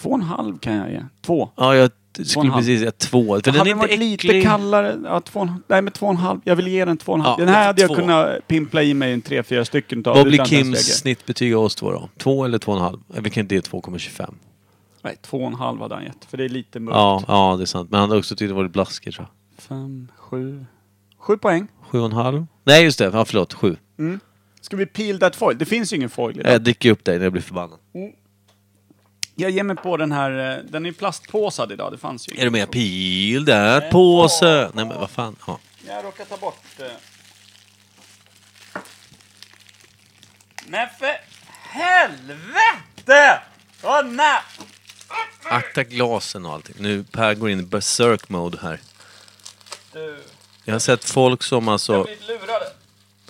[SPEAKER 3] två och en halv kan jag ge. Två.
[SPEAKER 1] Ja, jag
[SPEAKER 3] och en
[SPEAKER 1] skulle
[SPEAKER 3] halv.
[SPEAKER 1] precis säga två. För den är
[SPEAKER 3] hade
[SPEAKER 1] inte
[SPEAKER 3] den varit
[SPEAKER 1] äcklig.
[SPEAKER 3] lite kallare, ja, två och en halv, nej men två och en halv, jag vill ge den två och en halv.
[SPEAKER 1] Ja,
[SPEAKER 3] den här hade jag
[SPEAKER 1] två.
[SPEAKER 3] kunnat pimpla i mig en tre, fyra stycken utav.
[SPEAKER 1] Vad blir
[SPEAKER 3] utan
[SPEAKER 1] Kims
[SPEAKER 3] dess läge.
[SPEAKER 1] snittbetyg av oss två då? Två eller två och en halv? Eh, Vi kan inte ge 2,25.
[SPEAKER 3] Nej, två och en halv hade han gett, för det är lite mörkt.
[SPEAKER 1] Ja, ja, det är sant. Men han hade också tyckt det varit blaskigt tror jag.
[SPEAKER 3] Fem, sju, sju poäng.
[SPEAKER 1] Sju och en halv? Nej, just det. Ja, förlåt. Sju.
[SPEAKER 3] Ska vi peel that foil? Det finns ju ingen foil idag.
[SPEAKER 1] Jag dricker upp dig när jag blir förbannad.
[SPEAKER 3] Jag ger mig på den här, eh, den är plastpåsad idag, det fanns ju
[SPEAKER 1] Är du
[SPEAKER 3] ingen.
[SPEAKER 1] med? Pil där, påse! Nej men vad fan. Ja.
[SPEAKER 3] Jag råkar ta bort... eh. Men för helvete! Åh nej!
[SPEAKER 1] Akta glasen och allting. Nu Per går in i berserk mode här.
[SPEAKER 3] Du.
[SPEAKER 1] Jag har sett folk som alltså...
[SPEAKER 3] blir lurade.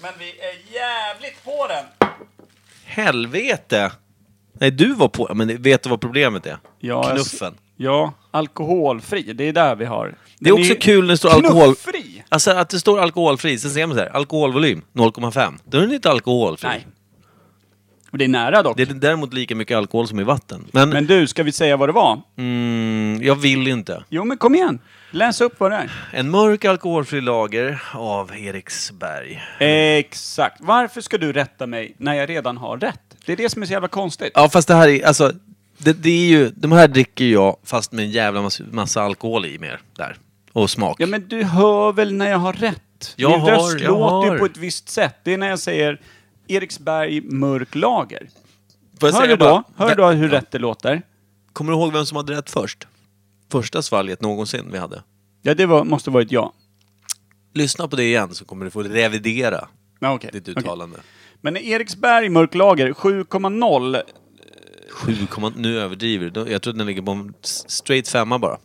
[SPEAKER 3] Men vi är jävligt på den.
[SPEAKER 1] Helvete! Nej du var på... Men vet du vad problemet är?
[SPEAKER 3] Ja,
[SPEAKER 1] Knuffen.
[SPEAKER 3] Ja, alkoholfri. Det är där vi har.
[SPEAKER 1] Det är också kul när det står alkohol...
[SPEAKER 3] Knufffri!
[SPEAKER 1] Alltså att det står alkoholfri, sen ser man så här, alkoholvolym 0,5. Då är den inte alkoholfri.
[SPEAKER 3] Nej. Och Det är nära dock.
[SPEAKER 1] Det är däremot lika mycket alkohol som i vatten. Men,
[SPEAKER 3] Men du, ska vi säga vad det var?
[SPEAKER 1] Mm, jag vill inte.
[SPEAKER 3] Jo, men kom igen. Läs upp vad det är.
[SPEAKER 1] En mörk alkoholfri lager av Eriksberg.
[SPEAKER 3] Exakt. Varför ska du rätta mig när jag redan har rätt? Det är det som är så jävla konstigt.
[SPEAKER 1] Ja, fast det här är... Alltså, det, det är ju... De här dricker jag, fast med en jävla massa, massa alkohol i mer. Där. Och smak.
[SPEAKER 3] Ja, men du hör väl när jag har rätt?
[SPEAKER 1] Jag
[SPEAKER 3] Min
[SPEAKER 1] har,
[SPEAKER 3] röst
[SPEAKER 1] jag
[SPEAKER 3] låter
[SPEAKER 1] har.
[SPEAKER 3] ju på ett visst sätt. Det är när jag säger Eriksberg mörk lager.
[SPEAKER 1] Får jag
[SPEAKER 3] Hör
[SPEAKER 1] säga
[SPEAKER 3] du, då?
[SPEAKER 1] bara-
[SPEAKER 3] hör du då hur rätt det låter?
[SPEAKER 1] Kommer du ihåg vem som hade rätt först? Första svalget någonsin vi hade.
[SPEAKER 3] Ja, det var, måste varit jag.
[SPEAKER 1] Lyssna på det igen så kommer du få revidera
[SPEAKER 3] Ja, okej.
[SPEAKER 1] ditt
[SPEAKER 3] Okej.
[SPEAKER 1] uttalande.
[SPEAKER 3] Men Eriksberg mörk lager 7,0.
[SPEAKER 1] 7, nu överdriver du. Jag tror att den ligger på en s- straight femma bara.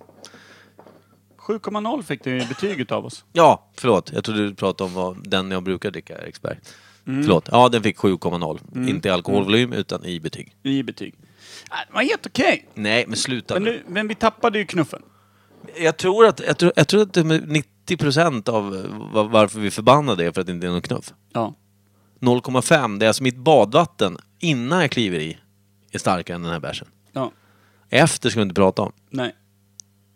[SPEAKER 3] 7,0 fick du i betyg utav oss.
[SPEAKER 1] Ja, förlåt. Jag trodde du pratade om vad, den jag brukar dricka, Eriksberg.
[SPEAKER 3] Mm.
[SPEAKER 1] Förlåt. Ja, den fick 7,0. Inte i alkoholvolym, utan i betyg.
[SPEAKER 3] I betyg. Äh, Det var helt okej.
[SPEAKER 1] Nej, men sluta
[SPEAKER 3] Men,
[SPEAKER 1] nu.
[SPEAKER 3] nu- men vi tappade ju knuffen.
[SPEAKER 1] Jag tror att, jag tror, jag tror att det är 90 procent av va- varför vi är förbannade är för att det inte är någon knuff.
[SPEAKER 3] Ja.
[SPEAKER 1] 0,5, det är alltså mitt badvatten innan jag kliver i, är starkare än den här bärsen.
[SPEAKER 3] Ja.
[SPEAKER 1] Efter ska vi inte prata om.
[SPEAKER 3] Nej.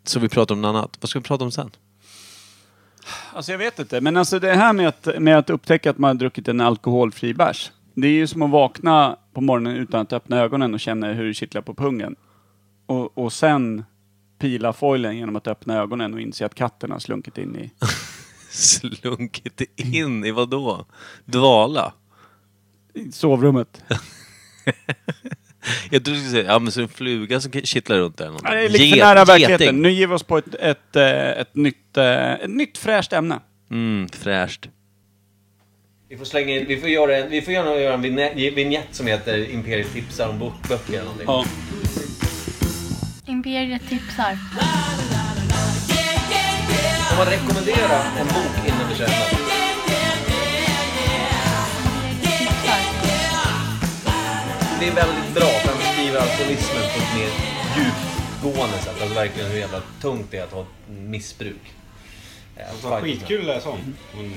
[SPEAKER 1] Så vi pratar om något annat. Vad ska vi prata om sen?
[SPEAKER 3] Alltså jag vet inte, men alltså det här med att, med att upptäcka att man har druckit en alkoholfri bärs. Det är ju som att vakna på morgonen utan att öppna ögonen och känna hur det kittlar på pungen. Och, och sen pila foilen genom att öppna ögonen och inse att katten har slunkit in i...
[SPEAKER 1] Slunkit in i vad då? Dvala?
[SPEAKER 3] I sovrummet.
[SPEAKER 1] *laughs* Jag trodde du skulle säga, ja men så en fluga som kittlar runt där eller någonting.
[SPEAKER 3] Nej, det är lite
[SPEAKER 1] Get-
[SPEAKER 3] för nära
[SPEAKER 1] geting.
[SPEAKER 3] verkligheten. Nu ger vi oss på ett, ett, eh, ett, nytt, eh, ett nytt fräscht ämne.
[SPEAKER 1] Mm, fräscht. Vi får slänga in, vi får göra en, vi får gärna göra en vignett, vignett som heter Imperiet tipsar om bok- böcker eller någonting.
[SPEAKER 3] Ja.
[SPEAKER 4] Imperiet tipsar.
[SPEAKER 1] Får man rekommendera en bok innan vi köper den? Det är väldigt bra för han beskriver alkoholismen på ett mer djupgående sätt. Alltså verkligen hur jävla tungt det är att ha ett missbruk. Eh,
[SPEAKER 6] Alltså, skitkul att läsa om. Hon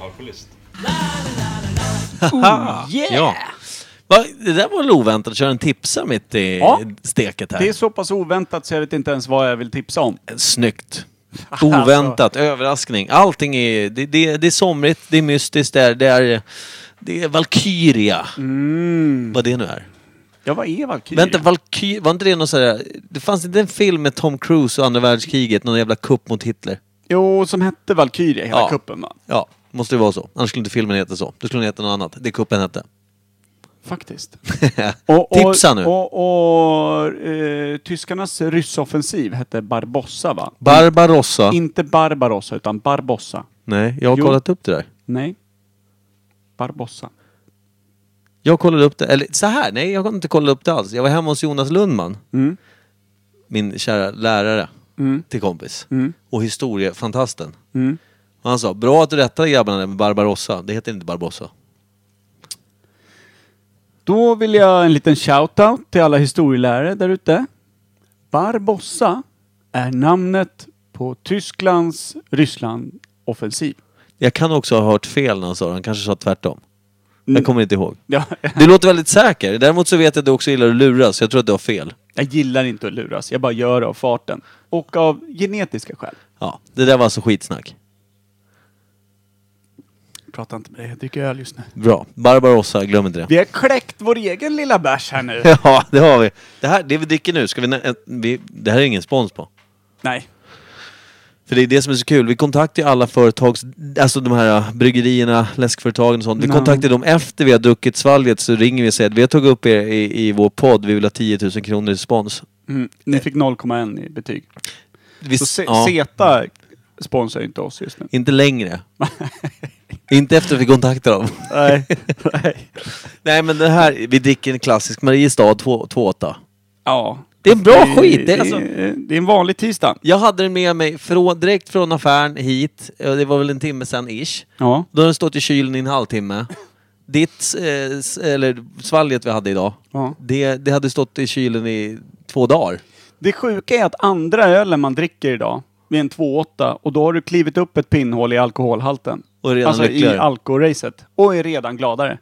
[SPEAKER 6] alkoholist.
[SPEAKER 1] Ah, Ja. Va, det där var väl oväntat att köra en tipsa mitt i
[SPEAKER 3] Ja.
[SPEAKER 1] steket här.
[SPEAKER 3] Det är så pass oväntat så jag vet inte ens vad jag vill tipsa om.
[SPEAKER 1] Snyggt.
[SPEAKER 3] Alltså.
[SPEAKER 1] Oväntat, överraskning. Allting är... Det, det, det är somrigt, det är mystiskt, det är... Det är, det är Valkyria.
[SPEAKER 3] Mm.
[SPEAKER 1] Vad det nu är.
[SPEAKER 3] Ja, vad är Valkyrie?
[SPEAKER 1] Mm. Vänta, Valkyria... Var inte det någon sån där... Det fanns inte en film med Tom Cruise och andra världskriget, någon jävla kupp mot Hitler?
[SPEAKER 3] Jo, som hette Valkyrie, hela
[SPEAKER 1] Ja.
[SPEAKER 3] kuppen va?
[SPEAKER 1] Ja, måste det vara så. Annars skulle inte filmen heta så. Då skulle den heta något annat. Det kuppen hette. *laughs*
[SPEAKER 3] Faktiskt. Och, och,
[SPEAKER 1] Tipsa nu.
[SPEAKER 3] Och, och eh, tyskarnas ryssoffensiv hette Barbossa va?
[SPEAKER 1] Barbarossa.
[SPEAKER 3] Inte Barbarossa, utan Barbossa.
[SPEAKER 1] Nej, jag har
[SPEAKER 3] Jo.
[SPEAKER 1] kollat upp det där.
[SPEAKER 3] Nej. Barbossa.
[SPEAKER 1] Jag kollade upp det, eller så här,
[SPEAKER 3] Mm,
[SPEAKER 1] nej jag har inte kollat upp det alls. Jag var hemma hos Jonas Lundman. Min kära lärare till kompis.
[SPEAKER 3] Mm.
[SPEAKER 1] Och historiefantasten. Och han sa, bra att du rättade grabbarna där med Barbarossa. Det heter inte Barbossa.
[SPEAKER 3] Då vill jag en liten shoutout till alla historielärare där ute. Barbossa är namnet på Tysklands Ryssland-offensiv. *laughs*
[SPEAKER 1] Jag kan också ha hört fel när han sa det. Han kanske sa tvärtom.
[SPEAKER 3] Mm.
[SPEAKER 1] Jag kommer inte ihåg.
[SPEAKER 3] Ja,
[SPEAKER 1] Du låter väldigt säker. Däremot så vet jag att du också gillar att luras. så Jag tror att du har fel.
[SPEAKER 3] jag gillar inte att luras, jag bara gör det av farten. Och av genetiska skäl.
[SPEAKER 1] Ja, det där var alltså skitsnack.
[SPEAKER 3] Prata inte med dig, jag dricker öl just nu.
[SPEAKER 1] Bra. Barbarossa, glöm inte det.
[SPEAKER 3] Vi har kläckt vår egen lilla bärs här nu.
[SPEAKER 1] *laughs* Ja, det har vi. Det här, det vi dricker nu, ska vi, nä- eh, vi... Det här är ingen spons på.
[SPEAKER 3] Nej.
[SPEAKER 1] För det är det som är så kul. Vi kontaktar ju alla företags... Alltså de här eh, bryggerierna, läskföretagen och sånt. Vi
[SPEAKER 3] Ja.
[SPEAKER 1] kontaktar dem efter vi har druckit svalget så ringer vi och säger att vi har tagit upp er i, i vår podd. Vi vill ha 10 000 kronor i spons.
[SPEAKER 3] Mm. Ni fick 0,1 i betyg.
[SPEAKER 1] Vi,
[SPEAKER 3] Så se-
[SPEAKER 1] ja,
[SPEAKER 3] Zeta sponsrar ju inte oss just nu.
[SPEAKER 1] Inte *laughs* längre. inte efter vi kontaktar dem.
[SPEAKER 3] Nej. Nej.
[SPEAKER 1] *laughs* Nej men det här, vi dricker en klassisk Mariestad 2-8.
[SPEAKER 3] Ja.
[SPEAKER 1] Det är en bra skit! Det är, alltså,
[SPEAKER 3] det, är, det är en vanlig tisdag.
[SPEAKER 1] jag hade den med mig från, direkt från affären hit, eh, det var väl en timme sen ish.
[SPEAKER 3] Ja.
[SPEAKER 1] Då har den stått i kylen i en halvtimme. Ditt, eh, s- eller svalget vi hade idag,
[SPEAKER 3] Ja.
[SPEAKER 1] det, det hade stått i kylen i två dagar.
[SPEAKER 3] Det sjuka är att andra ölen man dricker idag, vid en 2,8 och då har du klivit upp ett pinnhål i alkoholhalten.
[SPEAKER 1] Och är redan
[SPEAKER 3] alltså i
[SPEAKER 1] lyckligare.
[SPEAKER 3] alkoracet. Och är redan gladare.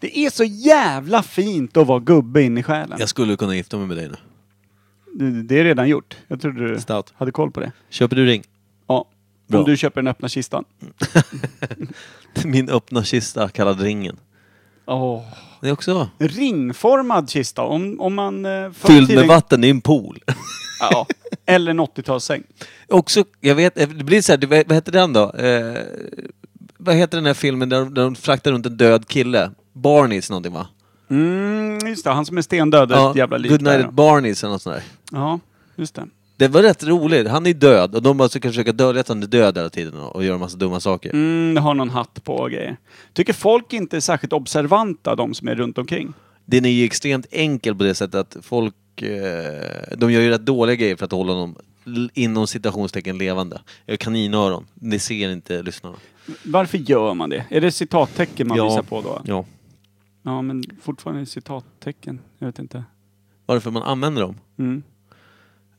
[SPEAKER 3] Det är så jävla fint att vara gubbe in i själen.
[SPEAKER 1] Jag skulle kunna gifta mig med dig nu.
[SPEAKER 3] Det, det är redan gjort. Jag trodde du
[SPEAKER 1] Stout.
[SPEAKER 3] hade koll på det.
[SPEAKER 1] Köper du ring?
[SPEAKER 3] Ja.
[SPEAKER 1] Bra.
[SPEAKER 3] Om du köper den öppna kistan.
[SPEAKER 1] *laughs* Min öppna kista kallad ringen.
[SPEAKER 3] Åh.
[SPEAKER 1] Det är också
[SPEAKER 3] En Ringformad kista. Om, om man... eh, förr i
[SPEAKER 1] fylld med
[SPEAKER 3] tiden-
[SPEAKER 1] vatten i en pool. *laughs*
[SPEAKER 3] Ja. Eller en 80-talssäng.
[SPEAKER 1] Också, jag vet, eh, det blir så här, du, vad vad heter den då? Eh, vad heter den här filmen där, där de fraktar runt en död kille? Barneys någonting va?
[SPEAKER 3] Mm, just det. Han som är stendöd. Ja, ett jävla liv
[SPEAKER 1] Goodnight
[SPEAKER 3] där,
[SPEAKER 1] at
[SPEAKER 3] ja.
[SPEAKER 1] Barneys eller något sånt där.
[SPEAKER 3] Ja, just det.
[SPEAKER 1] Det var rätt roligt. Han är död och de bara ska försöka dölja att han är död hela tiden och och göra massa dumma saker.
[SPEAKER 3] Mm, det har någon hatt på och grejer. Tycker folk inte är särskilt observanta, de som är runt omkring?
[SPEAKER 1] Den är ju extremt enkel på det sättet att folk, eh, de gör ju rätt dåliga grejer för att hålla honom l- inom citationstecken levande. Jag har Kaninöron. Det ser inte lyssnarna.
[SPEAKER 3] Varför gör man det? Är det citattecken man
[SPEAKER 1] Ja.
[SPEAKER 3] visar på då?
[SPEAKER 1] Ja.
[SPEAKER 3] Ja, men fortfarande är det citattecken. Jag vet inte.
[SPEAKER 1] Varför man använder dem?
[SPEAKER 3] Mm.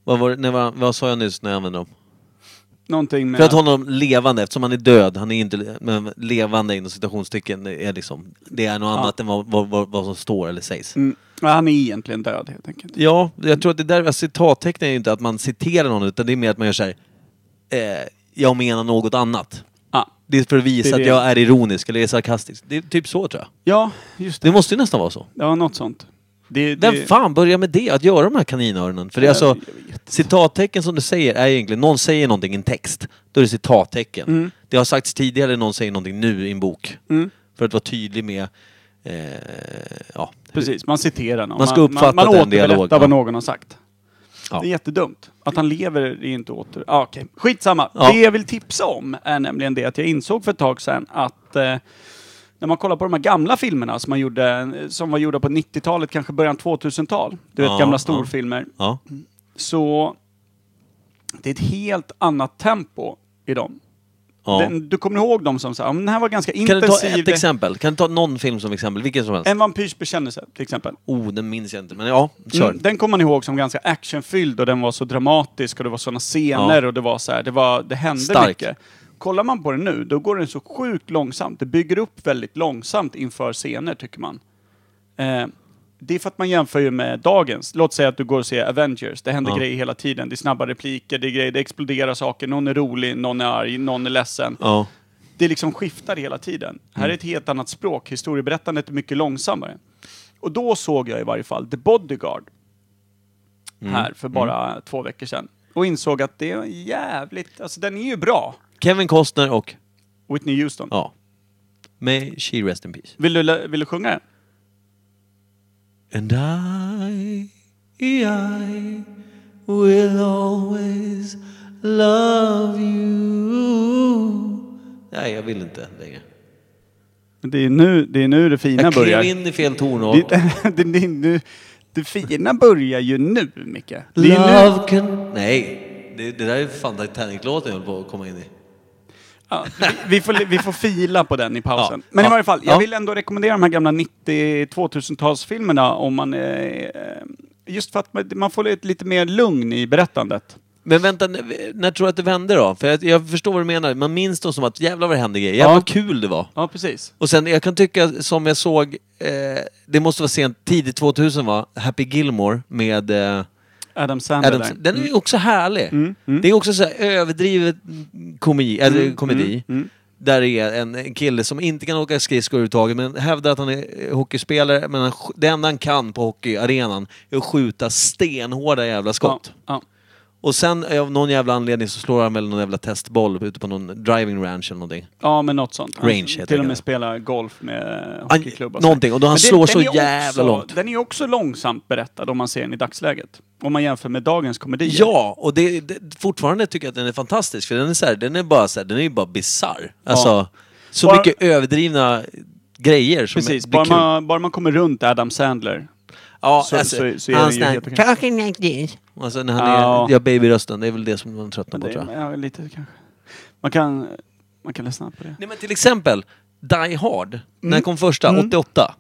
[SPEAKER 1] Vad, var, det- när, vad, vad sa jag nyss när jag använde dem?
[SPEAKER 3] Någonting med...
[SPEAKER 1] För att hålla honom levande, eftersom han är död, han är inte men levande inom citationstecken, det är liksom, det är något annat än vad, vad, vad, vad som står eller sägs.
[SPEAKER 3] Mm. Ja, han är egentligen död helt enkelt.
[SPEAKER 1] Ja, jag tror att det där, alltså, citattecknen är ju inte att man citerar någon, utan det är mer att man gör så här. Eh, jag menar något annat.
[SPEAKER 3] Ah.
[SPEAKER 1] Det är för att visa
[SPEAKER 3] Det är
[SPEAKER 1] att
[SPEAKER 3] det.
[SPEAKER 1] jag är ironisk eller är sarkastisk. Det är typ så tror jag.
[SPEAKER 3] Ja, just det.
[SPEAKER 1] Det måste ju nästan vara så.
[SPEAKER 3] Ja, något sånt. Det, det...
[SPEAKER 1] Vem fan börjar med det? Att göra de här kaninöronen? För det är alltså, citattecken som du säger är egentligen, någon säger någonting i en text, då är det citattecken.
[SPEAKER 3] Mm.
[SPEAKER 1] Det har sagts tidigare, någon säger någonting nu i en bok. För att vara tydlig med, eh, ja.
[SPEAKER 3] Precis, man citerar någon.
[SPEAKER 1] Man ska uppfatta
[SPEAKER 3] man, man
[SPEAKER 1] den
[SPEAKER 3] återberättar
[SPEAKER 1] dialogen, ja.
[SPEAKER 3] vad någon har sagt.
[SPEAKER 1] Ja.
[SPEAKER 3] Det är jättedumt. Att han lever är inte åter... Ah, Okej, skitsamma.
[SPEAKER 1] Ja.
[SPEAKER 3] Det jag vill tipsa om är nämligen det att jag insåg för ett tag sedan att eh, när man kollar på de här gamla filmerna som, man gjorde, som var gjorda på 90-talet, kanske början 2000-tal. Du vet
[SPEAKER 1] Ja,
[SPEAKER 3] gamla
[SPEAKER 1] ja.
[SPEAKER 3] storfilmer.
[SPEAKER 1] Ja.
[SPEAKER 3] Mm. Så det är ett helt annat tempo i dem.
[SPEAKER 1] ja.
[SPEAKER 3] Den, du kommer ihåg dem som så här, "Ja, men den här var ganska
[SPEAKER 1] kan du ta
[SPEAKER 3] intensiv.
[SPEAKER 1] ett exempel? Kan du ta någon film som exempel? Vilken som helst?
[SPEAKER 3] en vampyrs bekännelse till exempel.
[SPEAKER 1] Oh, den minns jag inte. Men ja, kör.
[SPEAKER 3] Mm, den kommer man ihåg som ganska actionfylld och den var så dramatisk och det var såna scener
[SPEAKER 1] Ja.
[SPEAKER 3] och det var så här, det, var, det hände
[SPEAKER 1] Stark.
[SPEAKER 3] mycket. Kollar man på den nu, då går den så sjukt långsamt. Det bygger upp väldigt långsamt inför scener, tycker man. Eh, det är för att man jämför ju med dagens. Låt säga att du går och ser Avengers. Det händer
[SPEAKER 1] Ja.
[SPEAKER 3] grejer hela tiden. Det är snabba repliker, det, är grejer, det exploderar saker. Någon är rolig, någon är arg, någon är ledsen.
[SPEAKER 1] Ja.
[SPEAKER 3] Det liksom skiftar hela tiden.
[SPEAKER 1] Mm.
[SPEAKER 3] Här är ett helt annat språk. Historieberättandet är mycket långsammare. Och då såg jag i varje fall The Bodyguard
[SPEAKER 1] Mm.
[SPEAKER 3] här för bara två veckor sedan. Och insåg att det är jävligt... Alltså den är ju bra,
[SPEAKER 1] Kevin Costner och...
[SPEAKER 3] Whitney Houston.
[SPEAKER 1] Ja. Med She Rest In Peace.
[SPEAKER 3] Vill, du, vill du sjunga den?
[SPEAKER 1] And I, I will always love you Nej, jag vill inte längre.
[SPEAKER 3] Men Det är nu det, är nu det fina
[SPEAKER 1] Jag
[SPEAKER 3] börjar.
[SPEAKER 1] klev in i fel tonart.
[SPEAKER 3] Det, *laughs* det, det, det, det fina börjar ju nu, Micke. Det är nu.
[SPEAKER 1] Love can... Nej. Det, det där är fan Titanic-låten jag höll på att komma in i.
[SPEAKER 3] Ja, vi, vi, får, vi får fila på den i pausen.
[SPEAKER 1] Ja.
[SPEAKER 3] Men i
[SPEAKER 1] Ja.
[SPEAKER 3] varje fall, jag
[SPEAKER 1] Ja.
[SPEAKER 3] vill ändå rekommendera de här gamla 90-2000-talsfilmerna om man... Eh, just för att man- man får lite, lite mer lugn i berättandet.
[SPEAKER 1] Men vänta, när, när tror du att det vände då? För jag, jag förstår vad du menar. Man minns dem som att jävlar vad det hände grejer. Jävlar
[SPEAKER 3] Ja.
[SPEAKER 1] vad kul det var.
[SPEAKER 3] Ja, precis.
[SPEAKER 1] Och sen, jag kan tycka som jag såg, eh, det måste vara sent, tidigt 2000 va? Happy Gilmore med eh,
[SPEAKER 3] Adam Sandler
[SPEAKER 1] Adam.
[SPEAKER 3] där.
[SPEAKER 1] Den är ju också härlig. Det är också så här överdrivet mm, komi, eller komedi. Där det är en, en kille som inte kan åka skridskor överhuvudtaget men hävdar att han är eh, hockeyspelare men han, sk- det enda han kan på hockeyarenan är att skjuta stenhårda jävla skott.
[SPEAKER 3] Ja,
[SPEAKER 1] Och sen eh, av någon jävla anledning så slår han väl någon jävla testboll ute på någon driving ranch eller någonting.
[SPEAKER 3] ja. ja, men något sånt.
[SPEAKER 1] Range heter
[SPEAKER 3] Till och
[SPEAKER 1] det.
[SPEAKER 3] med spela golf med eh,
[SPEAKER 1] Han-
[SPEAKER 3] hockeyklubba. och så.
[SPEAKER 1] Någonting, och då han
[SPEAKER 3] Men det-
[SPEAKER 1] slår
[SPEAKER 3] den
[SPEAKER 1] så
[SPEAKER 3] är också-
[SPEAKER 1] jävla långt.
[SPEAKER 3] Den är ju också långsamt berättad om man ser den i dagsläget. Om man jämför med dagens komedier.
[SPEAKER 1] Ja, och det, det, fortfarande tycker jag att den är fantastisk för den är så här, den är bara så här, den är ju bara bisarr. Alltså, så
[SPEAKER 3] Bara-
[SPEAKER 1] mycket överdrivna grejer som
[SPEAKER 3] Precis,
[SPEAKER 1] blir
[SPEAKER 3] bara
[SPEAKER 1] kul.
[SPEAKER 3] man, bara man kommer runt Adam Sandler.
[SPEAKER 1] ja,
[SPEAKER 3] så-
[SPEAKER 1] alltså,
[SPEAKER 3] så- så är
[SPEAKER 1] hans
[SPEAKER 3] den ju
[SPEAKER 1] där,
[SPEAKER 3] helt okej.
[SPEAKER 1] talking like this. Alltså när han
[SPEAKER 3] Ja.
[SPEAKER 1] är, ja babyrösten, det är väl det som man tröttnar
[SPEAKER 3] Men
[SPEAKER 1] på
[SPEAKER 3] det,
[SPEAKER 1] tror jag.
[SPEAKER 3] ja, lite kanske. Man kan, man kan lyssna på det.
[SPEAKER 1] Nej men till exempel, Die Hard, när
[SPEAKER 3] Mm.
[SPEAKER 1] den kom första, 88,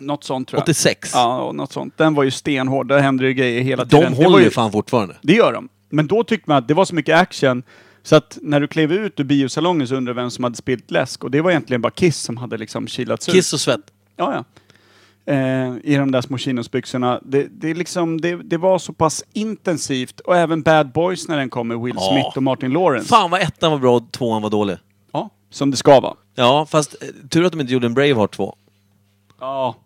[SPEAKER 3] Något sånt tror jag.
[SPEAKER 1] 86.
[SPEAKER 3] Ja, och något sånt. Den var ju stenhård. Där hände det ju grejer hela
[SPEAKER 1] De
[SPEAKER 3] tiden. det,
[SPEAKER 1] håller
[SPEAKER 3] var
[SPEAKER 1] ju fan fortfarande.
[SPEAKER 3] det gör de. Men då tyckte man att det var så mycket action så att när du klev ut ur biosalongen så undrade du vem som hade spillt läsk. Och det var egentligen bara Kiss som hade liksom kilats ut.
[SPEAKER 1] Kiss och svett.
[SPEAKER 3] Ja, ja. Eh, I de där små chinosbyxorna. Det, det, är liksom, det, det var så pass intensivt. Och även Bad Boys när den kom med Will
[SPEAKER 1] Ja.
[SPEAKER 3] Smith och Martin Lawrence.
[SPEAKER 1] Fan vad ettan var bra och tvåan var dålig.
[SPEAKER 3] Ja, som det ska vara.
[SPEAKER 1] Ja, fast eh, tur att de inte gjorde en Braveheart 2.
[SPEAKER 3] Ja.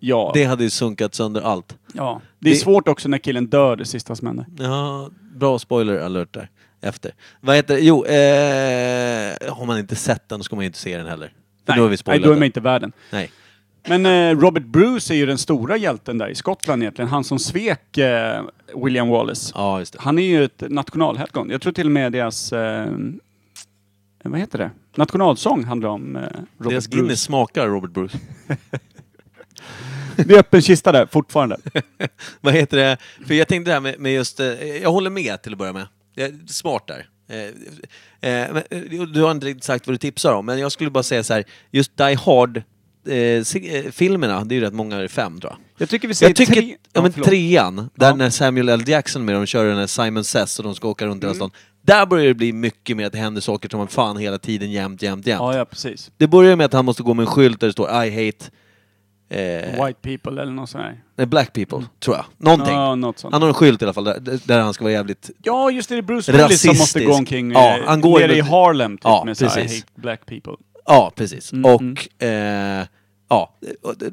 [SPEAKER 3] Ja.
[SPEAKER 1] Det hade ju sunkat sönder allt.
[SPEAKER 3] ja. det är
[SPEAKER 1] det-
[SPEAKER 3] svårt också när killen dör, det sista som händer.
[SPEAKER 1] Ja, bra spoiler alert där. Efter. Vad heter det? Jo, eh, har man inte sett den så ska man ju inte se den heller. För då har vi
[SPEAKER 3] nej,
[SPEAKER 1] spoilat
[SPEAKER 3] då är man
[SPEAKER 1] den.
[SPEAKER 3] inte värden.
[SPEAKER 1] Nej.
[SPEAKER 3] Men eh, Robert Bruce är ju den stora hjälten där i Skottland egentligen. Han som svek eh, William Wallace.
[SPEAKER 1] Ja, just det.
[SPEAKER 3] Han är ju ett nationalhelgon. Jag tror till och med deras... Eh, vad heter det? Nationalsång handlar om eh, Robert
[SPEAKER 1] Deras
[SPEAKER 3] Bruce.
[SPEAKER 1] Guinness smakar Robert Bruce.
[SPEAKER 3] *laughs*
[SPEAKER 1] *laughs*
[SPEAKER 3] Det är öppen kista där, fortfarande.
[SPEAKER 1] Vad heter det? För jag tänkte det här med, med just... Eh, jag håller med till att börja med. Jag är smart där. Eh, eh, men, eh, du har inte riktigt sagt vad du tipsar om, men jag skulle bara säga så här. Just Die eh, Hard-filmerna, det är ju rätt många, det är fem tror jag.
[SPEAKER 3] Jag tycker vi säger
[SPEAKER 1] Jag tycker,
[SPEAKER 3] tre...
[SPEAKER 1] ja men
[SPEAKER 3] förlåt.
[SPEAKER 1] trean, där
[SPEAKER 3] Ja.
[SPEAKER 1] när Samuel L. Jackson med dem kör den här Simon Says och de ska åka runt hela
[SPEAKER 3] Mm.
[SPEAKER 1] stan. Där börjar det bli mycket mer att det händer saker som man fan hela tiden jämt, jämt, jämt.
[SPEAKER 3] Ja, ja, precis.
[SPEAKER 1] Det börjar med att han måste gå med en skylt där det står I hate... Eh,
[SPEAKER 3] White people eller något sånt här.
[SPEAKER 1] nej, black people, tror jag. Någonting.
[SPEAKER 3] Ja, något sånt.
[SPEAKER 1] Han har en skylt i alla fall där, där han ska vara jävligt...
[SPEAKER 3] Ja, just det. Det är Bruce Willis som måste
[SPEAKER 1] Rasistisk.
[SPEAKER 3] gå omkring
[SPEAKER 1] Ja,
[SPEAKER 3] eh,
[SPEAKER 1] han går
[SPEAKER 3] nere
[SPEAKER 1] med-
[SPEAKER 3] i Harlem typ,
[SPEAKER 1] Ja,
[SPEAKER 3] med så här, I
[SPEAKER 1] precis.
[SPEAKER 3] hate black people.
[SPEAKER 1] Ja, precis.
[SPEAKER 3] Mm,
[SPEAKER 1] Och... Eh, ja,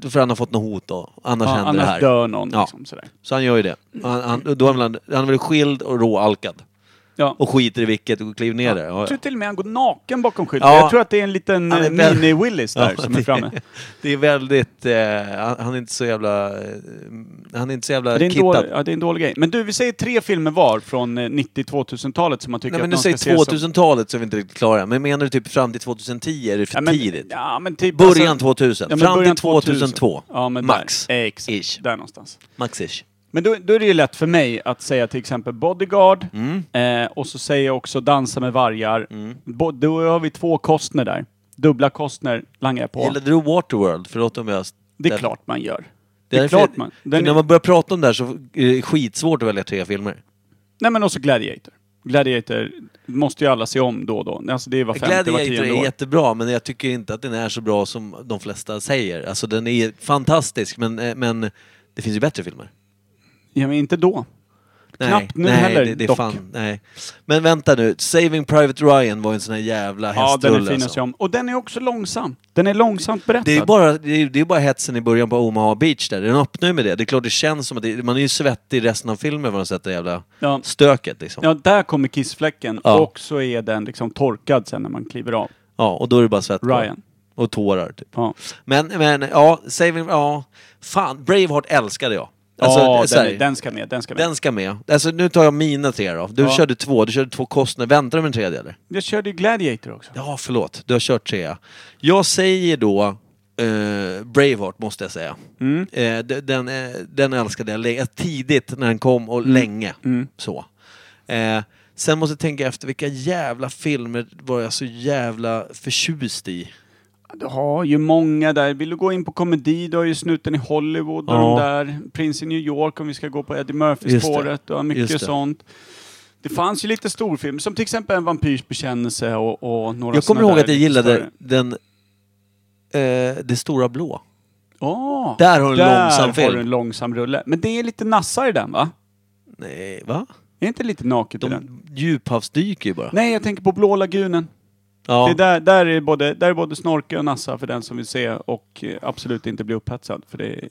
[SPEAKER 1] för han har fått något hot då. Annars
[SPEAKER 3] Ja,
[SPEAKER 1] händer
[SPEAKER 3] annars
[SPEAKER 1] det här.
[SPEAKER 3] dör någon.
[SPEAKER 1] Ja.
[SPEAKER 3] Liksom, sådär.
[SPEAKER 1] Så han gör ju det. Och Han, han, då är väl han, han är väl skild och råalkad.
[SPEAKER 3] Ja.
[SPEAKER 1] Och skiter i vilket och kliver ner där. Ja, ja.
[SPEAKER 3] Jag tror till och med han går naken bakom skylten.
[SPEAKER 1] Ja.
[SPEAKER 3] Jag tror att det är en liten
[SPEAKER 1] Han är
[SPEAKER 3] eh,
[SPEAKER 1] väl-
[SPEAKER 3] mini-Willis där som är framme.
[SPEAKER 1] *laughs* Det, det är väldigt... Eh, han, han är inte så jävla... Eh, han är inte så jävla
[SPEAKER 3] Det är, en
[SPEAKER 1] kittad.
[SPEAKER 3] dålig, ja, det är en dålig grej. Men du, vi säger tre filmer var från 90-2000-talet som man tycker
[SPEAKER 1] Nej men
[SPEAKER 3] att
[SPEAKER 1] du
[SPEAKER 3] man
[SPEAKER 1] säger
[SPEAKER 3] ska se som...
[SPEAKER 1] 2000-talet så är vi inte riktigt klara. Men menar du typ fram till 2010? Är det för
[SPEAKER 3] Ja, men,
[SPEAKER 1] tidigt?
[SPEAKER 3] Ja, men typ,
[SPEAKER 1] Början
[SPEAKER 3] alltså-
[SPEAKER 1] 2000.
[SPEAKER 3] Ja, men
[SPEAKER 1] fram
[SPEAKER 3] början
[SPEAKER 1] till 2002.
[SPEAKER 3] Ja, men
[SPEAKER 1] max.
[SPEAKER 3] Där, exakt.
[SPEAKER 1] Ish.
[SPEAKER 3] Där någonstans.
[SPEAKER 1] Max-ish.
[SPEAKER 3] Men då, då är det ju lätt för mig att säga till exempel Bodyguard
[SPEAKER 1] Mm.
[SPEAKER 3] eh, och så säger jag också Dansa med vargar. Bo, då har vi två Costner där. Dubbla Costner langar jag på.
[SPEAKER 1] Gillade du Waterworld? Förlåt om jag...
[SPEAKER 3] det är klart man gör.
[SPEAKER 1] Det
[SPEAKER 3] Det är,
[SPEAKER 1] därför-
[SPEAKER 3] klart man.
[SPEAKER 1] för
[SPEAKER 3] Den,
[SPEAKER 1] När man börjar prata om det här så är det skitsvårt att välja tre filmer.
[SPEAKER 3] Nej men också Gladiator. Gladiator måste ju alla se om då och då. Alltså det är var femte, var
[SPEAKER 1] Gladiator
[SPEAKER 3] tionde
[SPEAKER 1] är
[SPEAKER 3] år.
[SPEAKER 1] jättebra, men jag tycker inte att den är så bra som de flesta säger. Alltså den är fantastisk, men, eh, men det finns ju bättre filmer.
[SPEAKER 3] Ja men inte då. Knappt nu
[SPEAKER 1] nej,
[SPEAKER 3] heller,
[SPEAKER 1] det, det är
[SPEAKER 3] dock.
[SPEAKER 1] fan, nej. Men vänta nu, Saving Private Ryan var ju en sån här jävla
[SPEAKER 3] Ja,
[SPEAKER 1] hästrulle
[SPEAKER 3] den är fin att se
[SPEAKER 1] alltså.
[SPEAKER 3] om. Och den är också långsam. Den är långsamt berättad.
[SPEAKER 1] Det är, bara, det, är, det är bara hetsen i början på Omaha Beach där, den öppnar ju med det. Det är klart det känns som att det, man är ju svettig resten av filmen vad de sätter det jävla
[SPEAKER 3] Ja.
[SPEAKER 1] stöket liksom. Ja.
[SPEAKER 3] Ja, där kommer kissfläcken.
[SPEAKER 1] Ja.
[SPEAKER 3] Och så är den liksom torkad sen när man kliver av.
[SPEAKER 1] och då är det bara svett kvar.
[SPEAKER 3] Ryan.
[SPEAKER 1] Och tårar typ.
[SPEAKER 3] Ja.
[SPEAKER 1] Men, men ja, Saving, ja. Fan, Braveheart älskade jag. Alltså,
[SPEAKER 3] ja,
[SPEAKER 1] så
[SPEAKER 3] den,
[SPEAKER 1] här,
[SPEAKER 3] är- den ska med. Den ska med.
[SPEAKER 1] den ska med. Alltså nu tar jag mina tre då. Du
[SPEAKER 3] Ja.
[SPEAKER 1] körde två, du körde två Costner. Väntar du med en tredje eller?
[SPEAKER 3] Jag körde ju Gladiator också.
[SPEAKER 1] Ja, förlåt. Du har kört trea. Jag säger då eh, Braveheart, måste jag säga.
[SPEAKER 3] Mm.
[SPEAKER 1] Eh, d- den, eh, den älskade jag lä- tidigt när den kom och länge. Så. Eh, Sen måste jag tänka efter, vilka jävla filmer var jag så jävla förtjust i?
[SPEAKER 3] Du har ju många där. Vill du gå in på komedi, du har ju Snuten i Hollywood och
[SPEAKER 1] Ja.
[SPEAKER 3] de där. Prins i New York om vi ska gå på Eddie
[SPEAKER 1] Just det.
[SPEAKER 3] Murphy-spåret. Du har mycket
[SPEAKER 1] Just det.
[SPEAKER 3] sånt. Det fanns ju lite storfilm, som till exempel En vampyrs bekännelse och, och några
[SPEAKER 1] Jag kommer
[SPEAKER 3] såna
[SPEAKER 1] ihåg
[SPEAKER 3] där
[SPEAKER 1] att jag
[SPEAKER 3] lite
[SPEAKER 1] gillade
[SPEAKER 3] större.
[SPEAKER 1] den... Eh, det stora blå.
[SPEAKER 3] Åh!
[SPEAKER 1] Där har du en
[SPEAKER 3] där
[SPEAKER 1] långsam
[SPEAKER 3] har du en
[SPEAKER 1] film.
[SPEAKER 3] långsam rulle. Men det är lite nassar i den va?
[SPEAKER 1] Nej, va?
[SPEAKER 3] Är inte lite naket i den?
[SPEAKER 1] De djuphavsdyker ju bara.
[SPEAKER 3] Nej, jag tänker på Blå lagunen.
[SPEAKER 1] Ja.
[SPEAKER 3] Det är där, där, är både, där är både snorke och nassa för den som vill se och eh, absolut inte bli upphetsad. För det är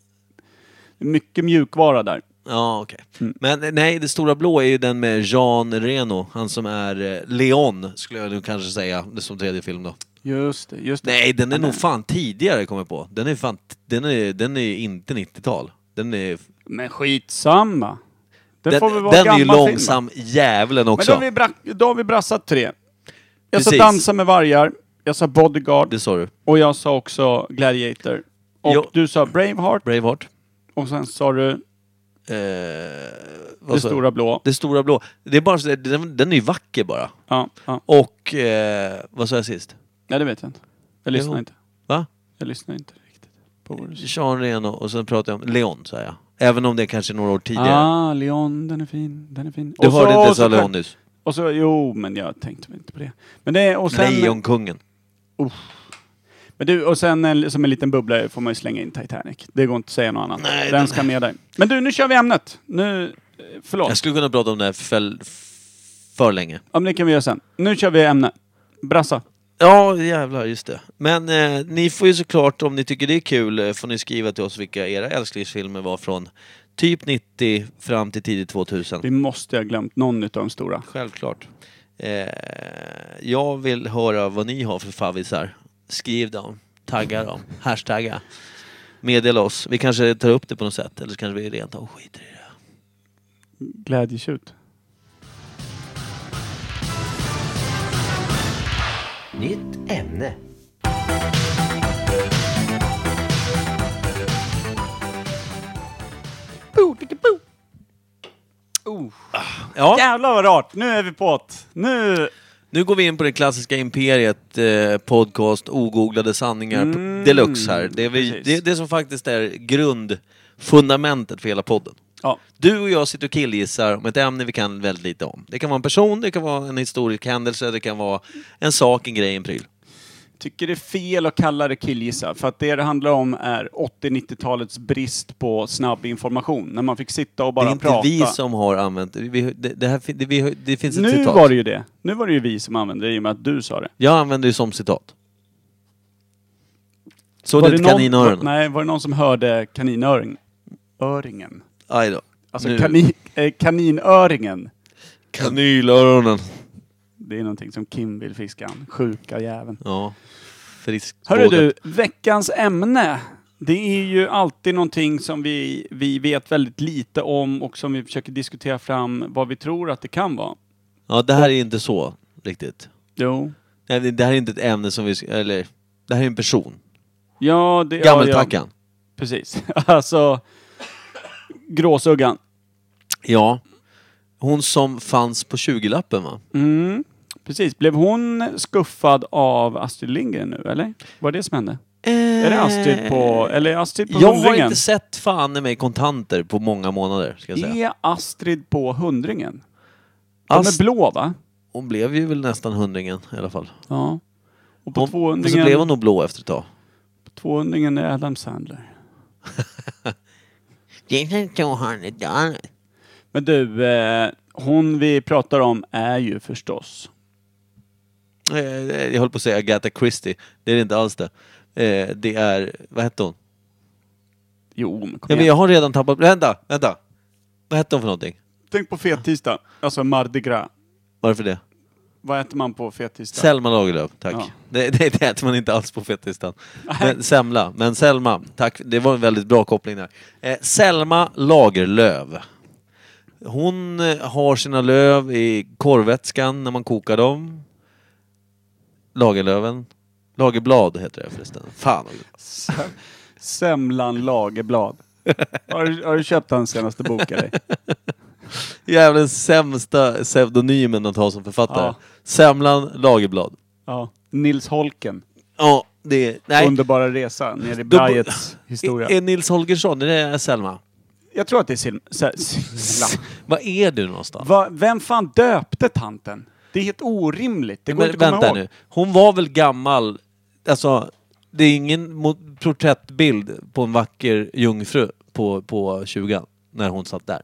[SPEAKER 3] mycket mjukvara där.
[SPEAKER 1] Ja, okej.
[SPEAKER 3] Mm.
[SPEAKER 1] Men eh, nej, Det stora blå är ju den med Jean Reno, han som är eh, Leon, skulle jag nu kanske säga, det som tredje film då.
[SPEAKER 3] Just det, just det.
[SPEAKER 1] Nej, den är
[SPEAKER 3] Ja,
[SPEAKER 1] nog
[SPEAKER 3] men-
[SPEAKER 1] fan tidigare, kommer jag på. Den är fan, t- den är, den är inte 90-tal. Den är,
[SPEAKER 3] Men skitsamma. Den,
[SPEAKER 1] den,
[SPEAKER 3] får väl vara
[SPEAKER 1] den är ju
[SPEAKER 3] gammal film, va?
[SPEAKER 1] långsam djävulen
[SPEAKER 3] Men då
[SPEAKER 1] också.
[SPEAKER 3] har, vi brack, då har vi brassat tre. Jag sa
[SPEAKER 1] Precis.
[SPEAKER 3] Dansa med vargar, jag sa Bodyguard
[SPEAKER 1] Det sa du.
[SPEAKER 3] och jag sa också Gladiator. Och
[SPEAKER 1] Jo.
[SPEAKER 3] du sa Braveheart
[SPEAKER 1] Braveheart.
[SPEAKER 3] och sen sa du
[SPEAKER 1] Eh,
[SPEAKER 3] Det
[SPEAKER 1] vad sa jag?
[SPEAKER 3] stora blå.
[SPEAKER 1] det stora blå. Det är bara, så- den, den är ju vacker bara.
[SPEAKER 3] Ja, ja.
[SPEAKER 1] Och eh, vad sa jag sist?
[SPEAKER 3] Nej, det vet jag inte. Jag lyssnar
[SPEAKER 1] Jo.
[SPEAKER 3] inte.
[SPEAKER 1] Va?
[SPEAKER 3] Jag lyssnar inte riktigt på vad du säger.
[SPEAKER 1] Jean Reno och sen pratade jag om Leon, sa jag. Även om det kanske är några år tidigare.
[SPEAKER 3] Ah, Leon, den är fin, den är fin.
[SPEAKER 1] Du
[SPEAKER 3] Och så-
[SPEAKER 1] hörde
[SPEAKER 3] och
[SPEAKER 1] inte
[SPEAKER 3] så-
[SPEAKER 1] sa Leon nyss.
[SPEAKER 3] Och så, jo, men jag tänkte väl inte på det. Men det, och sen...
[SPEAKER 1] Lejonkungen.
[SPEAKER 3] Men du, och sen en, som en liten bubblare får man ju slänga in Titanic. Det går inte att säga något annat.
[SPEAKER 1] Nej,
[SPEAKER 3] den
[SPEAKER 1] den-
[SPEAKER 3] ska med där. Men du, nu kör vi ämnet. Nu, eh, förlåt.
[SPEAKER 1] Jag skulle kunna prata om det här för, för länge.
[SPEAKER 3] Ja, men det kan vi göra sen. Nu kör vi ämne. Brassa.
[SPEAKER 1] Ja, jävlar, just det. Men eh, ni får ju såklart, om ni tycker det är kul, eh, får ni skriva till oss vilka era älsklingsfilmer var från typ 90 fram till tidigt 2000.
[SPEAKER 3] Vi måste ha glömt någon utav de stora.
[SPEAKER 1] Självklart. Eh, jag vill höra vad ni har för favvisar. Skriv dem, tagga dem, hashtagga. Meddela oss. Vi kanske tar upp det på något sätt, eller så kanske vi rent av skiter i det.
[SPEAKER 3] Glädjetjut.
[SPEAKER 7] nytt ämne.
[SPEAKER 1] Ja.
[SPEAKER 3] Jävlar vad rart! Nu är vi på ett. Nu...
[SPEAKER 1] Nu går vi in på det klassiska imperiet, eh, podcast, ogooglade sanningar
[SPEAKER 3] Mm,
[SPEAKER 1] på deluxe här. Det är, vi,
[SPEAKER 3] precis.
[SPEAKER 1] det, det som faktiskt är grundfundamentet för hela podden.
[SPEAKER 3] Ja.
[SPEAKER 1] Du och jag sitter och killgissar om ett ämne vi kan väldigt lite om. Det kan vara en person, det kan vara en historisk händelse, det kan vara en sak, en grej, en pryl.
[SPEAKER 3] Tycker det är fel att kalla det killgissa, för att det det handlar om är 80-90-talets brist på snabb information. När man fick sitta och bara
[SPEAKER 1] det är inte
[SPEAKER 3] prata.
[SPEAKER 1] vi som har använt det. Vi, det, det, här, fin- det, vi, det finns ett
[SPEAKER 3] Nu
[SPEAKER 1] citat.
[SPEAKER 3] var det ju det. Nu var det ju vi som använde det i och med att du sa det.
[SPEAKER 1] Jag använder det som citat. Så
[SPEAKER 3] Var
[SPEAKER 1] det
[SPEAKER 3] någon-
[SPEAKER 1] kaninöronen?
[SPEAKER 3] Nej, var det någon som hörde kaninöring? Öringen.
[SPEAKER 1] Aj då.
[SPEAKER 3] Alltså
[SPEAKER 1] Nu.
[SPEAKER 3] kani, eh, kaninöringen.
[SPEAKER 1] Kanylöronen.
[SPEAKER 3] Det är någonting som Kim vill fiska an. Sjuka jäveln.
[SPEAKER 1] Ja. Frisk
[SPEAKER 3] Hörru du, veckans ämne. Det är ju alltid någonting som vi, vi vet väldigt lite om och som vi försöker diskutera fram vad vi tror att det kan vara.
[SPEAKER 1] Ja, det här är inte så riktigt.
[SPEAKER 3] Jo.
[SPEAKER 1] Nej, det- Det här är inte ett ämne som vi... ska- Eller, det här är en person.
[SPEAKER 3] Ja, det... Ja, ja,
[SPEAKER 1] Gammeltackan.
[SPEAKER 3] precis. *laughs* alltså... Gråsuggan.
[SPEAKER 1] Ja. Hon som fanns på 20-lappen va?
[SPEAKER 3] Mm, precis. Blev hon skuffad av Astrid Lindgren nu, eller? Var det som hände? Är det Astrid på... Eller är Astrid på
[SPEAKER 1] Eh, Jag har
[SPEAKER 3] Hundringen?
[SPEAKER 1] inte sett fan i mig kontanter på många månader, ska jag säga.
[SPEAKER 3] Är Astrid på Hundringen? De
[SPEAKER 1] Ast-
[SPEAKER 3] är blå, va?
[SPEAKER 1] Hon blev ju väl nästan hundringen i alla fall.
[SPEAKER 3] Ja. Och på
[SPEAKER 1] Hon, och så
[SPEAKER 3] tvåhundringen...
[SPEAKER 1] blev hon nog blå efter ett tag.
[SPEAKER 3] på tvåhundringen är Adam Sandler. Men du, eh, hon vi pratar om är ju förstås...
[SPEAKER 1] Eh, eh, Jag höll på att säga Agatha Christie. Det är det inte alls det. Eh, Det är... Vad hette hon?
[SPEAKER 3] Jo, men kom
[SPEAKER 1] Ja, men
[SPEAKER 3] igen.
[SPEAKER 1] jag har redan tappat... Vänta, vänta! Vad hette hon för någonting?
[SPEAKER 3] Tänk på fettisdag. Alltså Mardi Gras.
[SPEAKER 1] Varför det?
[SPEAKER 3] Vad äter man på fettisdag?
[SPEAKER 1] Selma Lagerlöf, tack.
[SPEAKER 3] Ja.
[SPEAKER 1] Det, det, det äter man inte alls på fettisdagen. Men semla, men Selma, tack. Det var en väldigt bra koppling där. Eh, Selma Lagerlöf. Hon eh, har sina löv i korvvätskan när man kokar dem. Lagerlöven. Lagerblad heter det förresten. Fan.
[SPEAKER 3] Semlan Lagerblad. Har, du- har du köpt hans senaste bok av dig?
[SPEAKER 1] Jävla sämsta pseudonymen att ha som författare.
[SPEAKER 3] Ja.
[SPEAKER 1] Semlan Lagerblad.
[SPEAKER 3] Ja. Nils Holken.
[SPEAKER 1] Ja, det är... Nej.
[SPEAKER 3] Underbara resa ner i
[SPEAKER 1] Då bo-
[SPEAKER 3] Brajets historia.
[SPEAKER 1] Är, är Nils Holgersson, är det Selma?
[SPEAKER 3] Jag tror att det är Sil- Sel- Silma.
[SPEAKER 1] Vad är du någonstans?
[SPEAKER 3] Va, vem fan döpte tanten? Det är helt orimligt. Det går
[SPEAKER 1] Men
[SPEAKER 3] inte att komma
[SPEAKER 1] vänta
[SPEAKER 3] ihåg.
[SPEAKER 1] nu. Hon var väl gammal? Alltså, det är ingen mo- porträttbild på en vacker jungfru på, på 20 när hon satt där.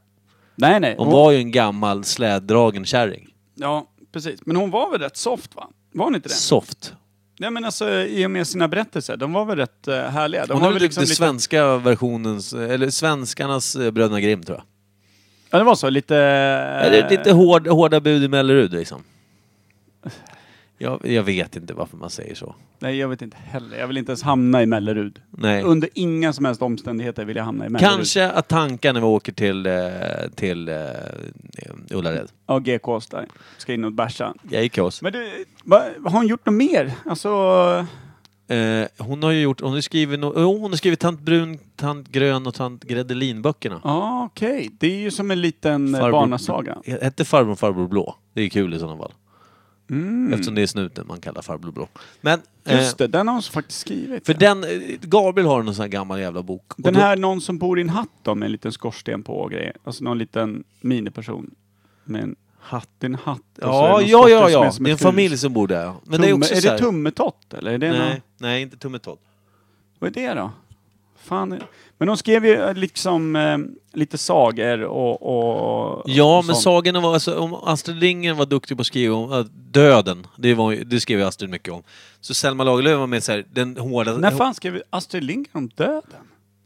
[SPEAKER 3] Nej, nej.
[SPEAKER 1] Hon
[SPEAKER 3] Hon-
[SPEAKER 1] var ju en gammal släddragen kärring.
[SPEAKER 3] Ja, precis. Men hon var väl rätt soft, va? Var hon inte det?
[SPEAKER 1] Soft.
[SPEAKER 3] Nej, men alltså i och med sina berättelser. De var väl rätt eh, härliga. De
[SPEAKER 1] Hon
[SPEAKER 3] var
[SPEAKER 1] är
[SPEAKER 3] väl
[SPEAKER 1] väl
[SPEAKER 3] liksom
[SPEAKER 1] den
[SPEAKER 3] lite...
[SPEAKER 1] svenska versionens, eller svenskarnas eh, Bröderna Grimm tror jag.
[SPEAKER 3] Ja, det var så. Lite... Eh.
[SPEAKER 1] Eller lite hård, hårda bud i Mellerud liksom. Jag, jag vet inte varför man säger så.
[SPEAKER 3] Nej, jag vet inte heller. Jag vill inte ens hamna i Mellerud.
[SPEAKER 1] Nej.
[SPEAKER 3] Under inga som helst omständigheter vill jag hamna i Mellerud.
[SPEAKER 1] Kanske att tanka när vi åker till, eh, till eh, Ullared.
[SPEAKER 3] Ja, GKs där. Ska in och bärsa.
[SPEAKER 1] Jag gick hos.
[SPEAKER 3] Men du, va, har hon gjort något mer? Alltså...
[SPEAKER 1] Eh, hon har ju gjort, hon har skrivit, no, oh, hon har skrivit Tant Brun, Tant Grön och Tant Gredelin-böckerna.
[SPEAKER 3] Ja, okej. Det är ju som en liten eh,
[SPEAKER 1] Farbror-
[SPEAKER 3] barnasaga.
[SPEAKER 1] Hette farbror Farbror Blå? Det är kul i sådana fall. Eftersom det är snuten man kallar Farbror Blå. Men, eh,
[SPEAKER 3] Mm. Just det, den har hon faktiskt skrivit.
[SPEAKER 1] för den, eh, Gabriel har någon sån här gammal jävla bok. Och
[SPEAKER 3] den
[SPEAKER 1] då-
[SPEAKER 3] här någon som bor i en hatt då, med en liten skorsten på och grejer. Alltså någon liten miniperson. Med en hatt, det är en hatt. och så Alltså, är
[SPEAKER 1] Ja,
[SPEAKER 3] det någon
[SPEAKER 1] ja,
[SPEAKER 3] skorsten
[SPEAKER 1] ja,
[SPEAKER 3] som
[SPEAKER 1] ja.
[SPEAKER 3] som
[SPEAKER 1] Det är en
[SPEAKER 3] ett
[SPEAKER 1] familj
[SPEAKER 3] hus.
[SPEAKER 1] som bor där. ja. Men
[SPEAKER 3] Tumme,
[SPEAKER 1] det är också så här,
[SPEAKER 3] tummetott eller? Är det någon,
[SPEAKER 1] Nej, nej, inte Tummetott.
[SPEAKER 3] vad är det då? Fan. är- Men hon skrev ju eh, liksom eh, lite sagor och, och
[SPEAKER 1] Ja,
[SPEAKER 3] och
[SPEAKER 1] men
[SPEAKER 3] sånt.
[SPEAKER 1] sagorna var... Alltså, om Astrid Lindgren var duktig på att skriva om eh, döden, det, var, ju- det skrev ju Astrid mycket om. Så Selma Lagerlöf var med så här, den hårda...
[SPEAKER 3] När fan skrev Astrid Lindgren om döden?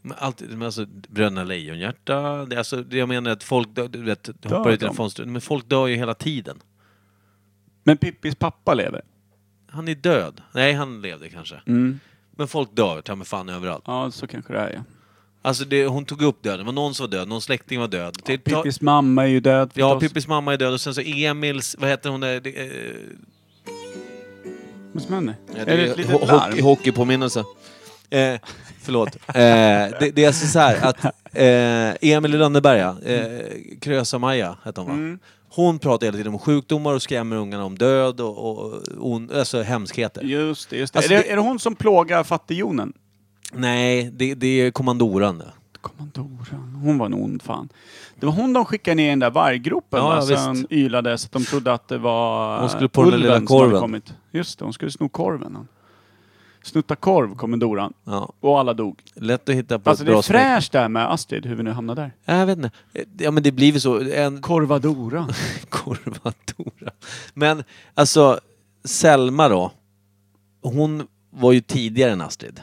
[SPEAKER 1] Men alltid, men alltså, Bröderna Lejonhjärta, det, alltså, det jag menar är att folk dör, du vet, hoppar ut
[SPEAKER 3] de?
[SPEAKER 1] genom fönstret. Men folk dör ju hela tiden.
[SPEAKER 3] Men Pippis pappa lever.
[SPEAKER 1] Han är död. Nej, han levde kanske.
[SPEAKER 3] Mm.
[SPEAKER 1] Men folk dör, ta mig fan överallt.
[SPEAKER 3] Ja, så kanske det är ja.
[SPEAKER 1] Alltså, det, hon tog upp döden. Det var någon som var död, någon släkting var död. Ja,
[SPEAKER 3] Pippis mamma är ju död
[SPEAKER 1] ja,
[SPEAKER 3] förstås.
[SPEAKER 1] Pippis mamma är död och sen så Emils, vad heter hon där? Det, eh,
[SPEAKER 3] Vad som händer?
[SPEAKER 1] Ja,
[SPEAKER 3] är det ett litet
[SPEAKER 1] ho- hockey,
[SPEAKER 3] larm?
[SPEAKER 1] hockeypåminnelse. Eh, förlåt. Eh, det, det är alltså så här att eh, Emil i Lönneberga, eh, Krösa-Maja hette hon va?
[SPEAKER 3] Mm.
[SPEAKER 1] Hon pratar hela tiden om sjukdomar och skrämmer ungarna om död och, och on, alltså hemskheter.
[SPEAKER 3] Just det, just det.
[SPEAKER 1] Alltså,
[SPEAKER 3] är, det,
[SPEAKER 1] det-
[SPEAKER 3] är det hon som plågar fattigjonen?
[SPEAKER 1] Nej, det, det är kommandoran det.
[SPEAKER 3] Kommandoran, hon var en ond fan. Det var hon de skickade ner i den där varggropen
[SPEAKER 1] Ja,
[SPEAKER 3] ja,
[SPEAKER 1] ja,
[SPEAKER 3] sen
[SPEAKER 1] visst.
[SPEAKER 3] ylade så att de trodde att det var
[SPEAKER 1] Hon skulle på den där lilla
[SPEAKER 3] ulven som hade
[SPEAKER 1] korven.
[SPEAKER 3] kommit. Just det, hon skulle sno korven. hon. Snutta korv, kommandoran.
[SPEAKER 1] Ja,
[SPEAKER 3] Och alla dog.
[SPEAKER 1] lätt att hitta på
[SPEAKER 3] Alltså
[SPEAKER 1] ett
[SPEAKER 3] det
[SPEAKER 1] bra
[SPEAKER 3] är
[SPEAKER 1] smink.
[SPEAKER 3] fräscht det här med Astrid, hur vi nu hamnar där.
[SPEAKER 1] Ja, Jag vet inte. Eh, Ja men det blir väl så. En *laughs*
[SPEAKER 3] Korvadoran.
[SPEAKER 1] korvatora. Men alltså, Selma då. Hon var ju tidigare än Astrid.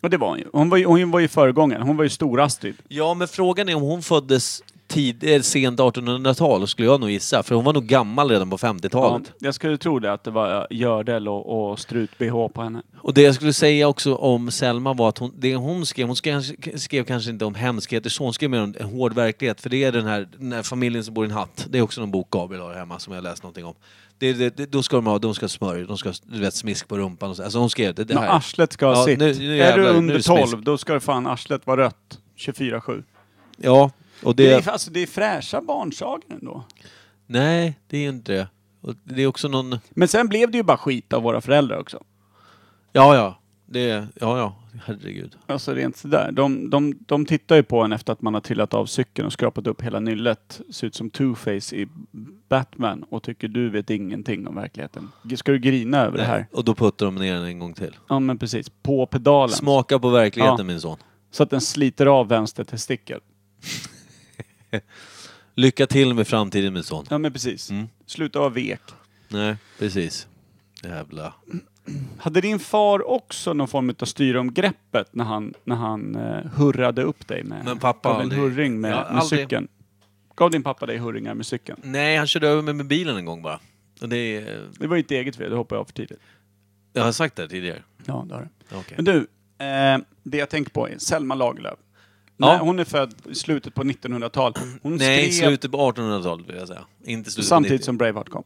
[SPEAKER 3] Och det var hon ju. Hon var ju, hon var ju föregångaren, hon var ju stor-Astrid.
[SPEAKER 1] Ja, men frågan är om hon föddes tid, eh, sent 1800-tal, skulle jag nog gissa. För hon var nog gammal redan på 50-talet.
[SPEAKER 3] jag skulle tro det att det var eh, gördel och, och strut-bh på henne.
[SPEAKER 1] Och det jag skulle säga också om Selma var att hon, det hon skrev, hon skrev, skrev kanske inte om hemskheter så, hon skrev mer om en hård verklighet. För det är den här, den här familjen som bor i en hatt. Det är också någon bok Gabriel har hemma som jag läst någonting om. Det, det, det, då ska de ha, de ska ha smörj, de ska ha du vet, smisk på rumpan och så. Alltså hon skrev det, det
[SPEAKER 3] När
[SPEAKER 1] här.
[SPEAKER 3] arslet ska ha
[SPEAKER 1] Ja,
[SPEAKER 3] sitt.
[SPEAKER 1] nu- nu
[SPEAKER 3] är du
[SPEAKER 1] jävlar, nu
[SPEAKER 3] under
[SPEAKER 1] är det
[SPEAKER 3] 12,
[SPEAKER 1] smisk.
[SPEAKER 3] då ska det fan arslet vara rött. 24-7.
[SPEAKER 1] Ja, och
[SPEAKER 3] Det...
[SPEAKER 1] det...
[SPEAKER 3] är, alltså, det är fräscha barnsagor ändå.
[SPEAKER 1] Nej, det är inte det. Och det är också någon...
[SPEAKER 3] Men sen blev det ju bara skit av våra föräldrar också.
[SPEAKER 1] Ja, ja. Det, ja, ja. Herregud.
[SPEAKER 3] Alltså rent sådär. De, de, de tittar ju på en efter att man har trillat av cykeln och skrapat upp hela nyllet. Ser ut som two-face i Batman och tycker du vet ingenting om verkligheten. Ska du grina över det här?
[SPEAKER 1] Och då puttar de ner den en gång till.
[SPEAKER 3] Ja men precis. På pedalen.
[SPEAKER 1] Smaka på verkligheten
[SPEAKER 3] Ja.
[SPEAKER 1] min son.
[SPEAKER 3] Så att den sliter av vänster testikel.
[SPEAKER 1] Lycka till med framtiden min son.
[SPEAKER 3] Ja men precis. Sluta vara vek.
[SPEAKER 1] Nej, precis. Jävla...
[SPEAKER 3] Hade din far också någon form av styre om greppet när han, när han eh, hurrade upp dig med,
[SPEAKER 1] Men pappa
[SPEAKER 3] gav en
[SPEAKER 1] aldrig.
[SPEAKER 3] hurring med,
[SPEAKER 1] Ja,
[SPEAKER 3] med
[SPEAKER 1] aldrig.
[SPEAKER 3] cykeln? Gav din pappa dig hurringar med cykeln?
[SPEAKER 1] Nej, han körde över mig med bilen en gång bara. Och det är...
[SPEAKER 3] Det var ju inte eget fel, det hoppade jag av för tidigt.
[SPEAKER 1] Jag har sagt det här tidigare.
[SPEAKER 3] Ja, det har du.
[SPEAKER 1] Okej.
[SPEAKER 3] Men du, eh, det jag tänker på är Selma Lagerlöf.
[SPEAKER 1] Ja.
[SPEAKER 3] Nej, hon är född i slutet på 1900-talet. Hon
[SPEAKER 1] Nej,
[SPEAKER 3] skrev
[SPEAKER 1] slutet på 1800-talet vill jag säga. Inte slutet på
[SPEAKER 3] samtidigt
[SPEAKER 1] 90.
[SPEAKER 3] som Braveheart kom.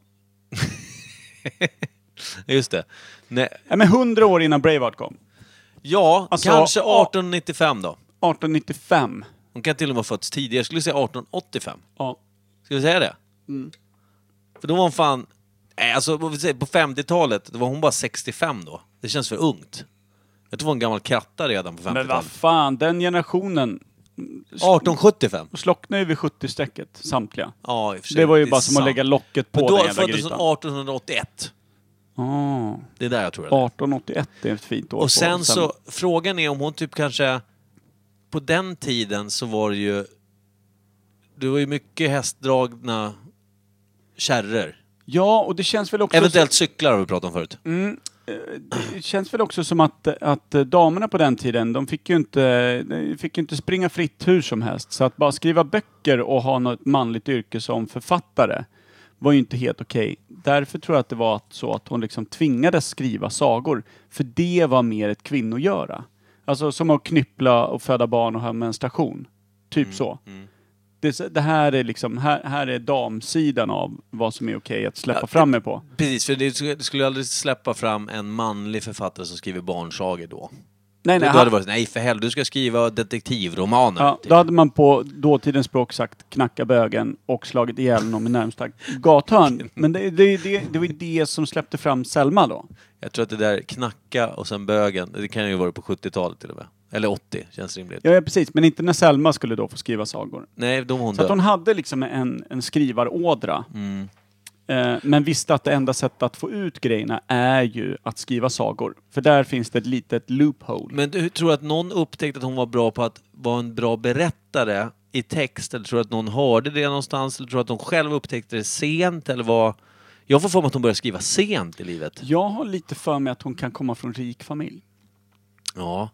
[SPEAKER 1] Just det. Nej.
[SPEAKER 3] Nej, men 100 år innan Braveheart kom.
[SPEAKER 1] Ja,
[SPEAKER 3] Alltså,
[SPEAKER 1] kanske
[SPEAKER 3] a-
[SPEAKER 1] 1895 då.
[SPEAKER 3] 1895.
[SPEAKER 1] Hon kan till och med ha fötts tidigare. Jag skulle säga 1885.
[SPEAKER 3] Ja.
[SPEAKER 1] Ska vi säga det? För då var hon fan... Nej, alltså vad vi säger, på 50-talet, då var hon bara 65 då. Det känns för ungt. Jag tror hon var en gammal kratta redan på
[SPEAKER 3] Men vad
[SPEAKER 1] 50-talet.
[SPEAKER 3] fan, den generationen
[SPEAKER 1] 1875?
[SPEAKER 3] slocknade ju vid 70-strecket, samtliga.
[SPEAKER 1] Ja, i och för sig.
[SPEAKER 3] Det var ju
[SPEAKER 1] är
[SPEAKER 3] bara som att
[SPEAKER 1] sant.
[SPEAKER 3] lägga locket på
[SPEAKER 1] Men
[SPEAKER 3] den
[SPEAKER 1] då
[SPEAKER 3] jävla
[SPEAKER 1] föddes hon
[SPEAKER 3] grytan.
[SPEAKER 1] 1881.
[SPEAKER 3] Ah,
[SPEAKER 1] Det är där jag tror att det är.
[SPEAKER 3] 1881 det är ett fint år på
[SPEAKER 1] Och sen så, frågan är om hon typ kanske... På den tiden så var det ju... Det var ju mycket hästdragna kärror.
[SPEAKER 3] Ja, och det känns väl också...
[SPEAKER 1] Eventuellt cyklar har vi pratat om förut.
[SPEAKER 3] det känns väl också som att, att damerna på den tiden, de fick ju inte, de fick ju inte springa fritt hur som helst. Så att bara skriva böcker och ha något manligt yrke som författare var ju inte helt okej. Därför tror jag att det var att, så att hon liksom tvingades skriva sagor. För det var mer ett kvinnogöra. Alltså som att knyppla och föda barn och ha menstruation. Typ
[SPEAKER 1] Mm,
[SPEAKER 3] så. Det, det här är liksom, här, här är damsidan av vad som är okej att släppa
[SPEAKER 1] Ja,
[SPEAKER 3] fram mig på.
[SPEAKER 1] Precis, för det sk- det skulle aldrig släppa fram en manlig författare som skriver barnsagor då.
[SPEAKER 3] Nej,
[SPEAKER 1] då
[SPEAKER 3] nej,
[SPEAKER 1] hade det varit, nej för helvete, du ska skriva detektivromaner.
[SPEAKER 3] Ja,
[SPEAKER 1] typ.
[SPEAKER 3] då hade man på dåtidens språk sagt knacka bögen och slagit ihjäl någon i närmsta gathörn. Men det, det, det, det var ju det som släppte fram Selma då.
[SPEAKER 1] Jag tror att det där knacka och sen bögen, det kan ju vara på 70-talet till och med. Eller 80, känns rimligt.
[SPEAKER 3] Ja, ja precis. Men inte när Selma skulle då få skriva sagor.
[SPEAKER 1] Nej, då var hon
[SPEAKER 3] Så att hon
[SPEAKER 1] död.
[SPEAKER 3] hade liksom en, en skrivarådra. Eh, men visste att det enda sättet att få ut grejerna är ju att skriva sagor. För där finns det ett litet loophole.
[SPEAKER 1] Men du tror att någon upptäckte att hon var bra på att vara en bra berättare i text? Eller tror du att någon hörde det någonstans? Eller tror du att hon själv upptäckte det sent? Eller var... Jag får för mig att hon började skriva sent i livet.
[SPEAKER 3] Jag har lite för mig att hon kan komma från rik familj.
[SPEAKER 1] Ja,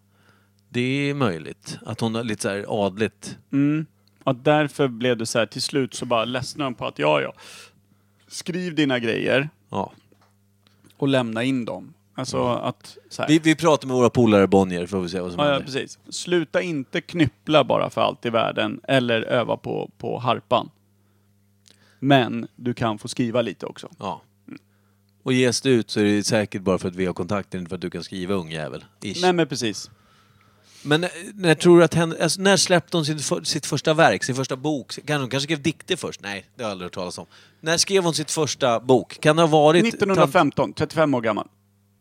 [SPEAKER 1] det är möjligt. Att hon har lite så här adligt.
[SPEAKER 3] Mm. Och därför blev det så här, till slut så bara ledsnade hon på att ja, ja, skriv dina grejer
[SPEAKER 1] Ja.
[SPEAKER 3] och lämna in dem. Alltså
[SPEAKER 1] Mm.
[SPEAKER 3] att så här,
[SPEAKER 1] Vi, vi pratar med våra polare Bonnier får vi se vad som
[SPEAKER 3] ja, ja,
[SPEAKER 1] händer.
[SPEAKER 3] precis. Sluta inte knyppla bara för allt i världen eller öva på, på harpan. Men du kan få skriva lite också.
[SPEAKER 1] Ja. Och ges det ut så är det säkert bara för att vi har kontakten, inte för att du kan skriva ungjävel. Ish.
[SPEAKER 3] Nej men precis.
[SPEAKER 1] Men när, när tror du att henne, alltså, när släppte hon sitt, för, sitt första verk, sin första bok? Kan, hon kanske skrev dikter först? Nej, det har jag aldrig hört talas om. När skrev hon sitt första bok? Kan det ha varit...
[SPEAKER 3] 1915, 35 år gammal.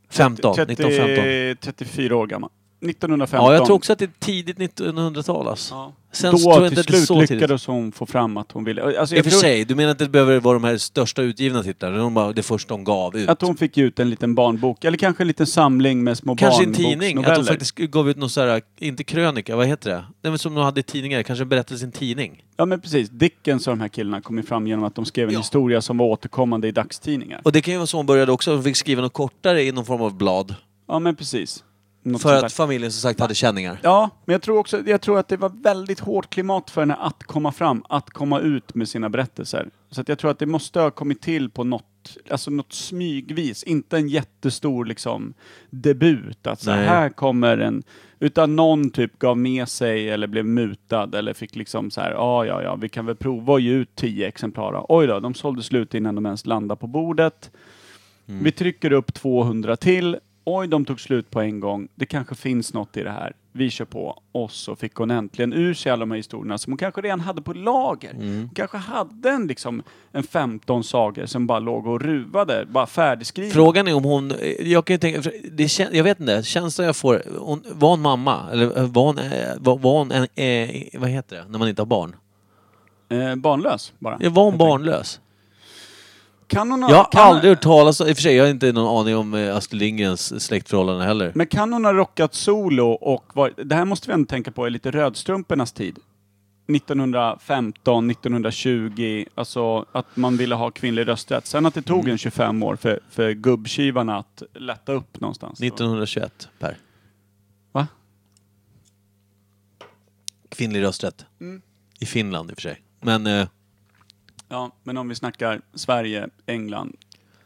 [SPEAKER 1] 15, 1915.
[SPEAKER 3] 34 år gammal. 1915.
[SPEAKER 1] Ja, jag tror också att det är tidigt 1900-tal alltså.
[SPEAKER 3] Ja.
[SPEAKER 1] Sen så tror
[SPEAKER 3] Då
[SPEAKER 1] jag inte
[SPEAKER 3] till
[SPEAKER 1] att det är
[SPEAKER 3] slut
[SPEAKER 1] så tidigt.
[SPEAKER 3] lyckades hon få fram att hon ville...
[SPEAKER 1] I
[SPEAKER 3] Alltså,
[SPEAKER 1] och
[SPEAKER 3] jag
[SPEAKER 1] för
[SPEAKER 3] tror-
[SPEAKER 1] sig, du menar att det behöver vara de här största utgivna titlarna? Det är de bara det första de gav ut?
[SPEAKER 3] Att hon fick ut en liten barnbok, eller kanske en liten samling med små
[SPEAKER 1] Kanske en tidning? Att de
[SPEAKER 3] barnboksnoveller.
[SPEAKER 1] faktiskt gav ut någon sån här, inte krönika, vad heter det? Nej men som de hade i tidningar, kanske en berättelse i en tidning.
[SPEAKER 3] Ja men precis, Dickens och de här killarna kom ju fram genom att de skrev en
[SPEAKER 1] Ja.
[SPEAKER 3] historia som var återkommande i dagstidningar.
[SPEAKER 1] Och det kan ju vara så hon började också, hon fick skriva något kortare i någon form av blad.
[SPEAKER 3] Ja men precis. Något
[SPEAKER 1] För
[SPEAKER 3] sånt
[SPEAKER 1] att
[SPEAKER 3] där.
[SPEAKER 1] familjen som sagt hade känningar.
[SPEAKER 3] Ja, men jag tror också jag tror att det var väldigt hårt klimat för henne att komma fram, att komma ut med sina berättelser. Så att jag tror att det måste ha kommit till på något, alltså något smygvis, inte en jättestor liksom debut, att så
[SPEAKER 1] Nej.
[SPEAKER 3] här kommer en, utan någon typ gav med sig eller blev mutad eller fick liksom så här, ja ja ja, vi kan väl prova att ge ut tio exemplar. då." Oj då, de sålde slut innan de ens landade på bordet. Mm. Vi trycker upp 200 till. Oj, de tog slut på en gång. Det kanske finns något i det här. Vi kör på. Och så fick hon äntligen ur sig alla de här historierna som hon kanske redan hade på lager.
[SPEAKER 1] Mm.
[SPEAKER 3] Hon kanske hade en, liksom, en 15 sagor som bara låg och ruvade, bara färdigskrivna.
[SPEAKER 1] Frågan är om hon, jag kan ju tänka, för det kän, jag vet inte, känslan jag får, hon, var hon mamma? Eller eh, var hon, eh, var, var hon en, eh, vad heter det, när man inte har barn?
[SPEAKER 3] eh, barnlös bara.
[SPEAKER 1] Ja, Var hon
[SPEAKER 3] Helt enkelt.
[SPEAKER 1] barnlös?
[SPEAKER 3] Kan hon ha,
[SPEAKER 1] Jag har
[SPEAKER 3] kan,
[SPEAKER 1] aldrig hört talas om, i och för sig jag har inte någon aning om eh, Astrid Lindgrens släktförhållanden heller.
[SPEAKER 3] Men kan hon ha rockat solo och varit, det här måste vi ändå tänka på är lite rödstrumpornas tid. 1915, 1920, alltså att man ville ha kvinnlig rösträtt. Sen att det tog en 25 år för, för gubbtjuvarna att lätta upp någonstans.
[SPEAKER 1] 1921, Per.
[SPEAKER 3] Va?
[SPEAKER 1] Kvinnlig rösträtt.
[SPEAKER 3] Mm.
[SPEAKER 1] I Finland i och för sig. Men, eh,
[SPEAKER 3] Ja, men om vi snackar Sverige, England,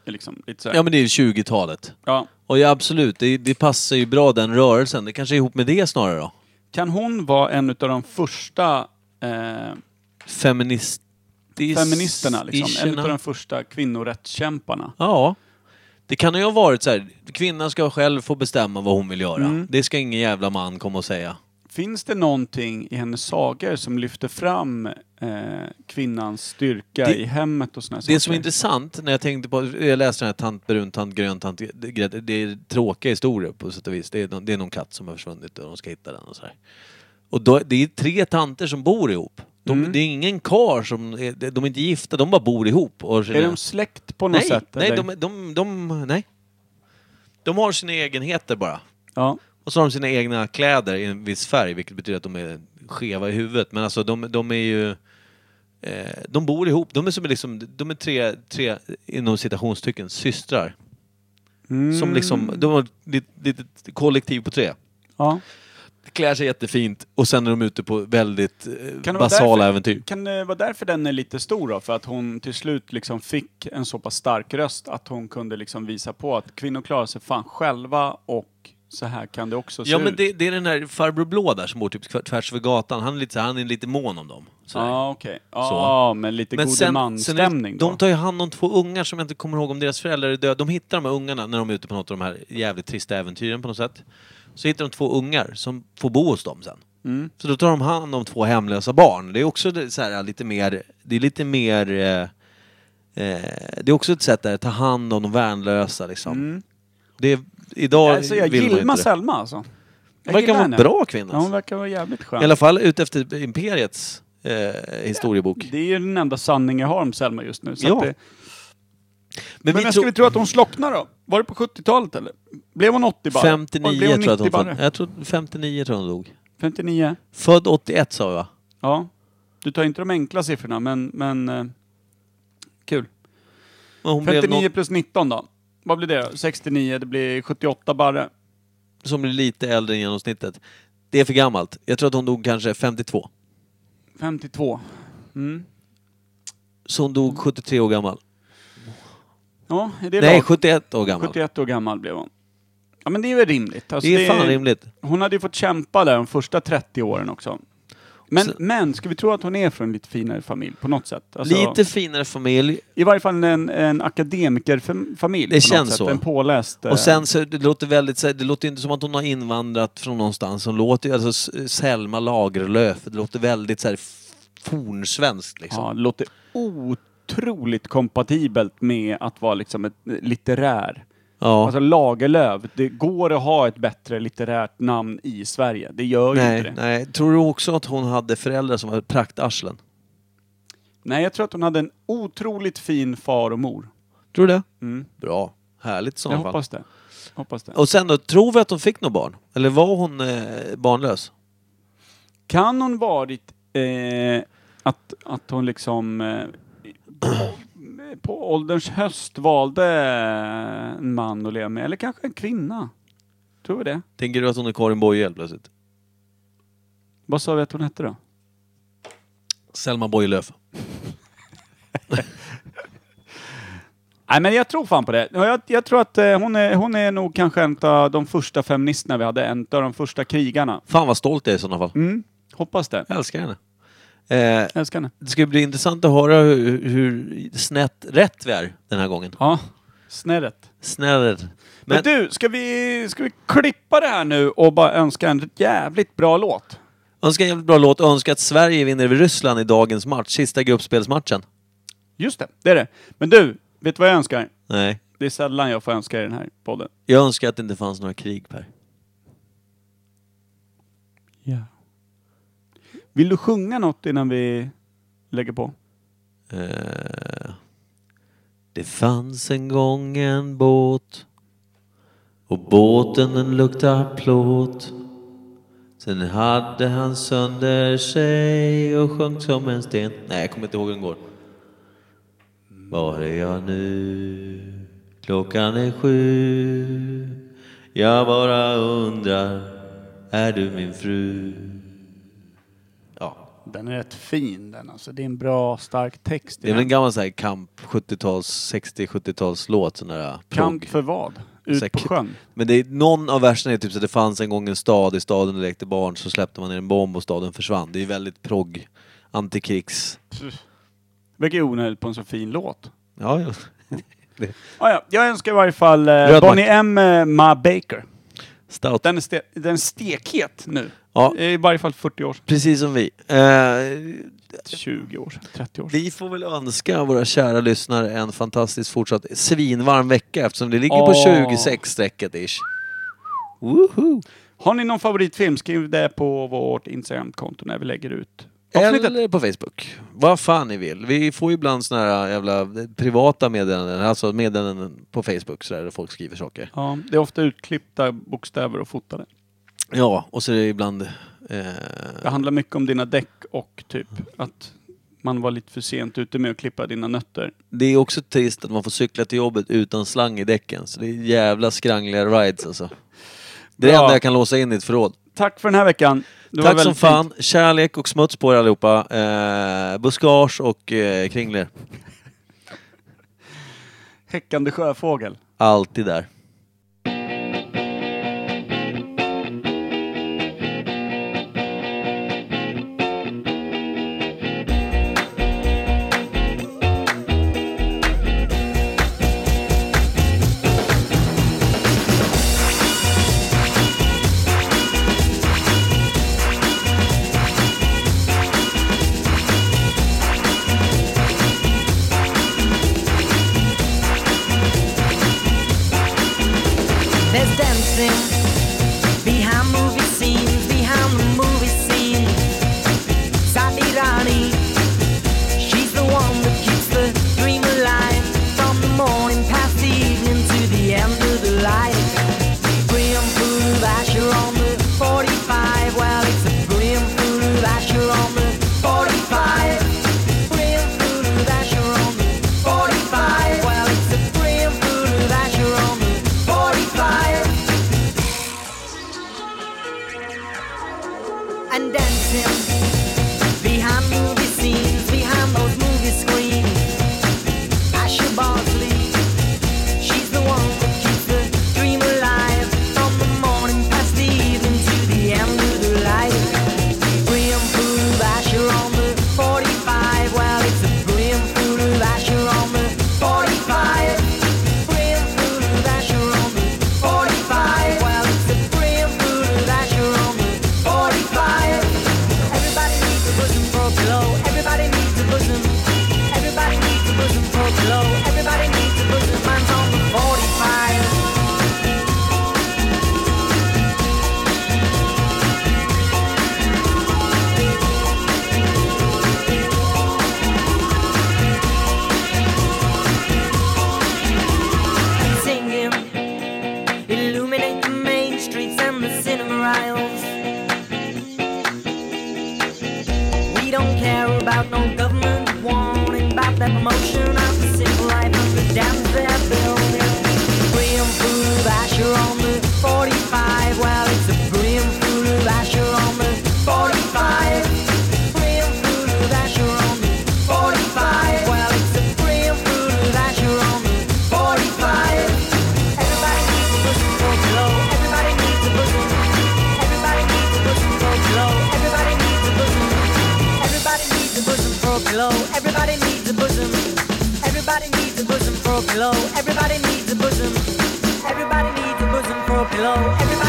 [SPEAKER 3] liksom lite så här.
[SPEAKER 1] ja men det är ju 20-talet.
[SPEAKER 3] Ja.
[SPEAKER 1] Och ja, absolut, det, det passar ju bra den rörelsen. Det kanske är ihop med det snarare då?
[SPEAKER 3] Kan hon vara en av de första eh,
[SPEAKER 1] Feminist...
[SPEAKER 3] feministerna, liksom? en
[SPEAKER 1] ischerna.
[SPEAKER 3] av de första kvinnorättskämparna?
[SPEAKER 1] Ja. Det kan ju ha
[SPEAKER 3] Mm.
[SPEAKER 1] varit så här, kvinnan ska själv få bestämma vad hon vill göra. Det ska ingen jävla man komma och säga.
[SPEAKER 3] Finns det någonting i hennes sagor som lyfter fram eh, kvinnans styrka
[SPEAKER 1] Det-
[SPEAKER 3] i hemmet och sådana saker?
[SPEAKER 1] Det som är intressant när jag tänkte på, jag läste den här Tant brun, tant grön, tant det, det är tråkiga historier på sätt och vis. Det är, någon- det är någon katt som har försvunnit och de ska hitta den och sådär. Och då, det är tre tanter som bor ihop. De,
[SPEAKER 3] Mm.
[SPEAKER 1] Det är ingen kar som, är- de är inte gifta, de bara bor ihop. Och
[SPEAKER 3] Är de släkt på något
[SPEAKER 1] nej,
[SPEAKER 3] sätt?
[SPEAKER 1] nej,
[SPEAKER 3] eller?
[SPEAKER 1] de, de, de, nej. De har sina egenheter bara.
[SPEAKER 3] Ja.
[SPEAKER 1] Och så har de sina egna kläder i en viss färg, vilket betyder att de är skeva i huvudet. Men alltså de, de är ju... Eh, de bor ihop. De är som liksom, de är tre, tre inom citationstycken, systrar.
[SPEAKER 3] Mm,
[SPEAKER 1] Som liksom, de har ett litet kollektiv på tre.
[SPEAKER 3] ja.
[SPEAKER 1] Klär sig jättefint och sen är de ute på väldigt eh,
[SPEAKER 3] vara
[SPEAKER 1] basala
[SPEAKER 3] därför-
[SPEAKER 1] äventyr.
[SPEAKER 3] Kan det vara därför den är lite stor då? För att hon till slut liksom fick en så pass stark röst att hon kunde liksom visa på att kvinnor klarar sig fan själva och så här kan det också se
[SPEAKER 1] Ja men
[SPEAKER 3] ut.
[SPEAKER 1] det, det är den här farbror blå där som bor typ kvar- tvärs över gatan. Han är lite, så här- han är lite mån om dem. Så här.
[SPEAKER 3] Ja okej.
[SPEAKER 1] Så.
[SPEAKER 3] Ja men lite
[SPEAKER 1] Men
[SPEAKER 3] gode
[SPEAKER 1] sen, sen är,
[SPEAKER 3] man-stämning
[SPEAKER 1] det-
[SPEAKER 3] då.
[SPEAKER 1] de tar ju hand om två ungar som jag inte kommer ihåg om deras föräldrar är döda. De hittar de här ungarna när de är ute på något av de här jävligt trista äventyren på något sätt. Så hittar de två ungar som får bo hos dem sen.
[SPEAKER 3] Mm.
[SPEAKER 1] Så då tar de hand om två hemlösa barn. Det är också det- så här, lite mer... Det är lite mer... Eh, eh, det är också ett sätt där att ta hand om de värnlösa liksom.
[SPEAKER 3] Mm.
[SPEAKER 1] Det är, idag
[SPEAKER 3] Alltså jag
[SPEAKER 1] vill man
[SPEAKER 3] gillar
[SPEAKER 1] inte det.
[SPEAKER 3] Selma alltså.
[SPEAKER 1] Hon
[SPEAKER 3] Jag
[SPEAKER 1] verkar
[SPEAKER 3] gillar
[SPEAKER 1] vara en
[SPEAKER 3] henne.
[SPEAKER 1] bra kvinna.
[SPEAKER 3] Ja, hon
[SPEAKER 1] Alltså.
[SPEAKER 3] verkar vara jävligt skön.
[SPEAKER 1] I alla fall utefter Imperiets eh, historiebok.
[SPEAKER 3] Det är ju den enda sanning jag har om Selma just nu. Så
[SPEAKER 1] Ja.
[SPEAKER 3] att det...
[SPEAKER 1] Men,
[SPEAKER 3] Men,
[SPEAKER 1] vi
[SPEAKER 3] när ska
[SPEAKER 1] tror...
[SPEAKER 3] vi tro att hon slocknar då? Var det på 70-talet eller? Blev hon 80 bara?
[SPEAKER 1] 59
[SPEAKER 3] Blev hon
[SPEAKER 1] tror jag att
[SPEAKER 3] 90
[SPEAKER 1] hon
[SPEAKER 3] barre?
[SPEAKER 1] född. Jag tror 59 tror jag hon dog.
[SPEAKER 3] 59?
[SPEAKER 1] Född 81 sa vi va?
[SPEAKER 3] Ja. Du tar inte de enkla siffrorna, men... men eh, kul.
[SPEAKER 1] Men hon
[SPEAKER 3] 59
[SPEAKER 1] blev någon
[SPEAKER 3] plus 19 då? Vad blir det då? 69, det blir 78 barre.
[SPEAKER 1] som blev lite äldre än genomsnittet. Det är för gammalt. Jag tror att hon dog kanske 52.
[SPEAKER 3] 52. Mm.
[SPEAKER 1] Så hon dog 73 år gammal.
[SPEAKER 3] Ja, är det
[SPEAKER 1] Nej,
[SPEAKER 3] lagom?
[SPEAKER 1] 71 år gammal.
[SPEAKER 3] 71 år gammal blev hon. Ja men det är väl rimligt. Alltså,
[SPEAKER 1] Det är fan rimligt.
[SPEAKER 3] Hon hade ju fått kämpa där de första 30 åren också. Men,
[SPEAKER 1] Så-
[SPEAKER 3] men ska vi tro att hon är från en lite finare familj på något sätt? Alltså-
[SPEAKER 1] Lite finare familj.
[SPEAKER 3] I varje fall en, en akademikerfamilj.
[SPEAKER 1] Det
[SPEAKER 3] på något
[SPEAKER 1] känns
[SPEAKER 3] sätt.
[SPEAKER 1] så.
[SPEAKER 3] En påläst... eh,
[SPEAKER 1] Och sen så, det låter väldigt, så här- det låter inte som att hon har invandrat från någonstans. Hon låter ju, alltså S- Selma Lagerlöf, det låter väldigt så här f- fornsvenskt liksom.
[SPEAKER 3] ja, det låter otroligt kompatibelt med att vara liksom ett litterär.
[SPEAKER 1] Ja.
[SPEAKER 3] Alltså Lagerlöf, det går att ha ett bättre litterärt namn i Sverige. Det gör ju inte
[SPEAKER 1] Nej,
[SPEAKER 3] det. Nej.
[SPEAKER 1] nej. Tror du också att hon hade föräldrar som var praktarslen?
[SPEAKER 3] jag tror att hon hade en otroligt fin far och mor.
[SPEAKER 1] Tror du det?
[SPEAKER 3] Mm.
[SPEAKER 1] Bra. Härligt i
[SPEAKER 3] Jag
[SPEAKER 1] sådana fall.
[SPEAKER 3] hoppas det. hoppas det.
[SPEAKER 1] Och sen då, tror vi att hon fick något barn? Eller var hon eh, barnlös?
[SPEAKER 3] Kan hon varit eh, att, att hon liksom eh, på ålderns höst valde en man att leva med, eller kanske en kvinna? Tror vi det?
[SPEAKER 1] Tänker du att hon är Karin Boye helt plötsligt?
[SPEAKER 3] Vad sa vi att hon hette då?
[SPEAKER 1] Selma Boyelöf.
[SPEAKER 3] Nej men jag tror fan på det. Ja, Jag, jag tror att eh, hon, är, hon är nog kanske en av de första feministerna vi hade, en av de första krigarna.
[SPEAKER 1] Fan vad stolt jag är i sådana fall.
[SPEAKER 3] Mm. Hoppas det.
[SPEAKER 1] Jag älskar henne. Eh,
[SPEAKER 3] Älskar henne.
[SPEAKER 1] det ska bli intressant att höra hur, hur snett rätt vi är den här gången.
[SPEAKER 3] Ja, snärret.
[SPEAKER 1] Snäll.
[SPEAKER 3] Men,
[SPEAKER 1] Men,
[SPEAKER 3] du, ska vi, ska vi klippa det här nu och bara önska en jävligt bra låt?
[SPEAKER 1] önska en jävligt bra låt. Önska att Sverige vinner över Ryssland i dagens match. Sista gruppspelsmatchen.
[SPEAKER 3] Just det, det är det. Men du, vet du vad jag önskar?
[SPEAKER 1] Nej.
[SPEAKER 3] Det är sällan jag får önska i den här podden.
[SPEAKER 1] Jag önskar att det inte fanns några krig Per.
[SPEAKER 3] Ja. Vill du sjunga något innan vi lägger på?
[SPEAKER 1] Eh, Det fanns en gång en båt och båten den luktar plåt. Sen hade han sönder sig och sjönk som en sten. Nej, jag kommer inte ihåg hur den går. Var är jag nu? Klockan är sju. Jag bara undrar, är du min fru? Ja,
[SPEAKER 3] Den är rätt fin den alltså. Det är en bra, stark text.
[SPEAKER 1] Det är väl en gammal så här kamp 70-tals, 60-70-tals låt sån där eh,
[SPEAKER 3] Kamp
[SPEAKER 1] prog.
[SPEAKER 3] för vad? Ut
[SPEAKER 1] Säkert.
[SPEAKER 3] på sjön?
[SPEAKER 1] Men det är, någon av verserna är typ så att det fanns en gång en stad, i staden lekte barn, så släppte man ner en bomb och staden försvann. Det är väldigt progg, antikrigs...
[SPEAKER 3] Verkar ju onödigt på en så fin låt.
[SPEAKER 1] Ja, ja.
[SPEAKER 3] Ah, ja. Jag önskar i varje fall eh,
[SPEAKER 1] Röd
[SPEAKER 3] Bonnie M. eh, Ma Baker.
[SPEAKER 1] Stout.
[SPEAKER 3] Den är, ste- den är stekhet nu.
[SPEAKER 1] Ja.
[SPEAKER 3] I varje fall 40 år,
[SPEAKER 1] Precis som vi. Eh,
[SPEAKER 3] 20 år, 30 år.
[SPEAKER 1] vi får väl önska våra kära lyssnare en fantastisk fortsatt svinvarm vecka eftersom det ligger på
[SPEAKER 3] Åh.
[SPEAKER 1] 26-strecket ish. Woohoo!
[SPEAKER 3] Har ni någon favoritfilm, skriv det på vårt Instagram-konto när vi lägger ut avsnittet.
[SPEAKER 1] Eller på Facebook. Vad fan ni vill. Vi får ju ibland såna här jävla privata meddelanden, alltså meddelanden på Facebook sådär där folk skriver saker.
[SPEAKER 3] Ja, det är ofta utklippta bokstäver och fotade.
[SPEAKER 1] Ja, och så är det ibland... Eh,
[SPEAKER 3] Det handlar mycket om dina däck och typ att man var lite för sent ute med att klippa dina nötter.
[SPEAKER 1] det är också trist att man får cykla till jobbet utan slang i däcken. Så det är jävla skrangliga rides alltså. Det är det
[SPEAKER 3] Bra.
[SPEAKER 1] enda jag kan låsa in i ett förråd.
[SPEAKER 3] Tack för den här veckan. Det var
[SPEAKER 1] Tack som
[SPEAKER 3] väldigt
[SPEAKER 1] fan.
[SPEAKER 3] fint.
[SPEAKER 1] Kärlek och smuts på er allihopa. Eh, buskage och eh, kringler.
[SPEAKER 3] Häckande sjöfågel.
[SPEAKER 1] Alltid där.
[SPEAKER 8] There's dancing behind movie scenes, behind the movie scene. Sadi Rani, she's the one that keeps the dream alive. From the morning past the evening to the end of the light. Brim food of Asher on the 45. Well, it's a brim food of Asher on the 45. Brim food of Asher on the 45. Well, it's a brim food of Asher on the 45. and dancing behind movie scenes, behind those movie screens. Asher Bosley, she's the one that keeps the dream alive from the morning past the evening to the end of the light. Brim food of Asher on the 45. Well, it's a brim food of Asher on the 45. Brim food of Asher on the 45. Well, it's a brim food of Asher on the 45. Everybody needs a bosom for pillow. Everybody needs a bosom. Everybody needs a bosom for pillow. Everybody needs a bosom. Mine's on the 45. singing. Illuminate the main streets and the cinema aisles. We don't care about no government warning about that promotion of the civil life of the damn fair building. Brim food of Asher on the 45. Well, it's a brim food of Asher on the 45. Brim food of Asher on the 45. Well, it's a brim food of Asher on the 45. Everybody needs a bosom for glow. Everybody needs a bosom. Everybody needs a bosom for glow. Everybody needs a bosom. Everybody needs a bosom for a pillow. Everybody needs a bosom. Everybody needs a bosom for a pillow. Everybody needs a bosom. Everybody needs a bosom for a pillow. Everybody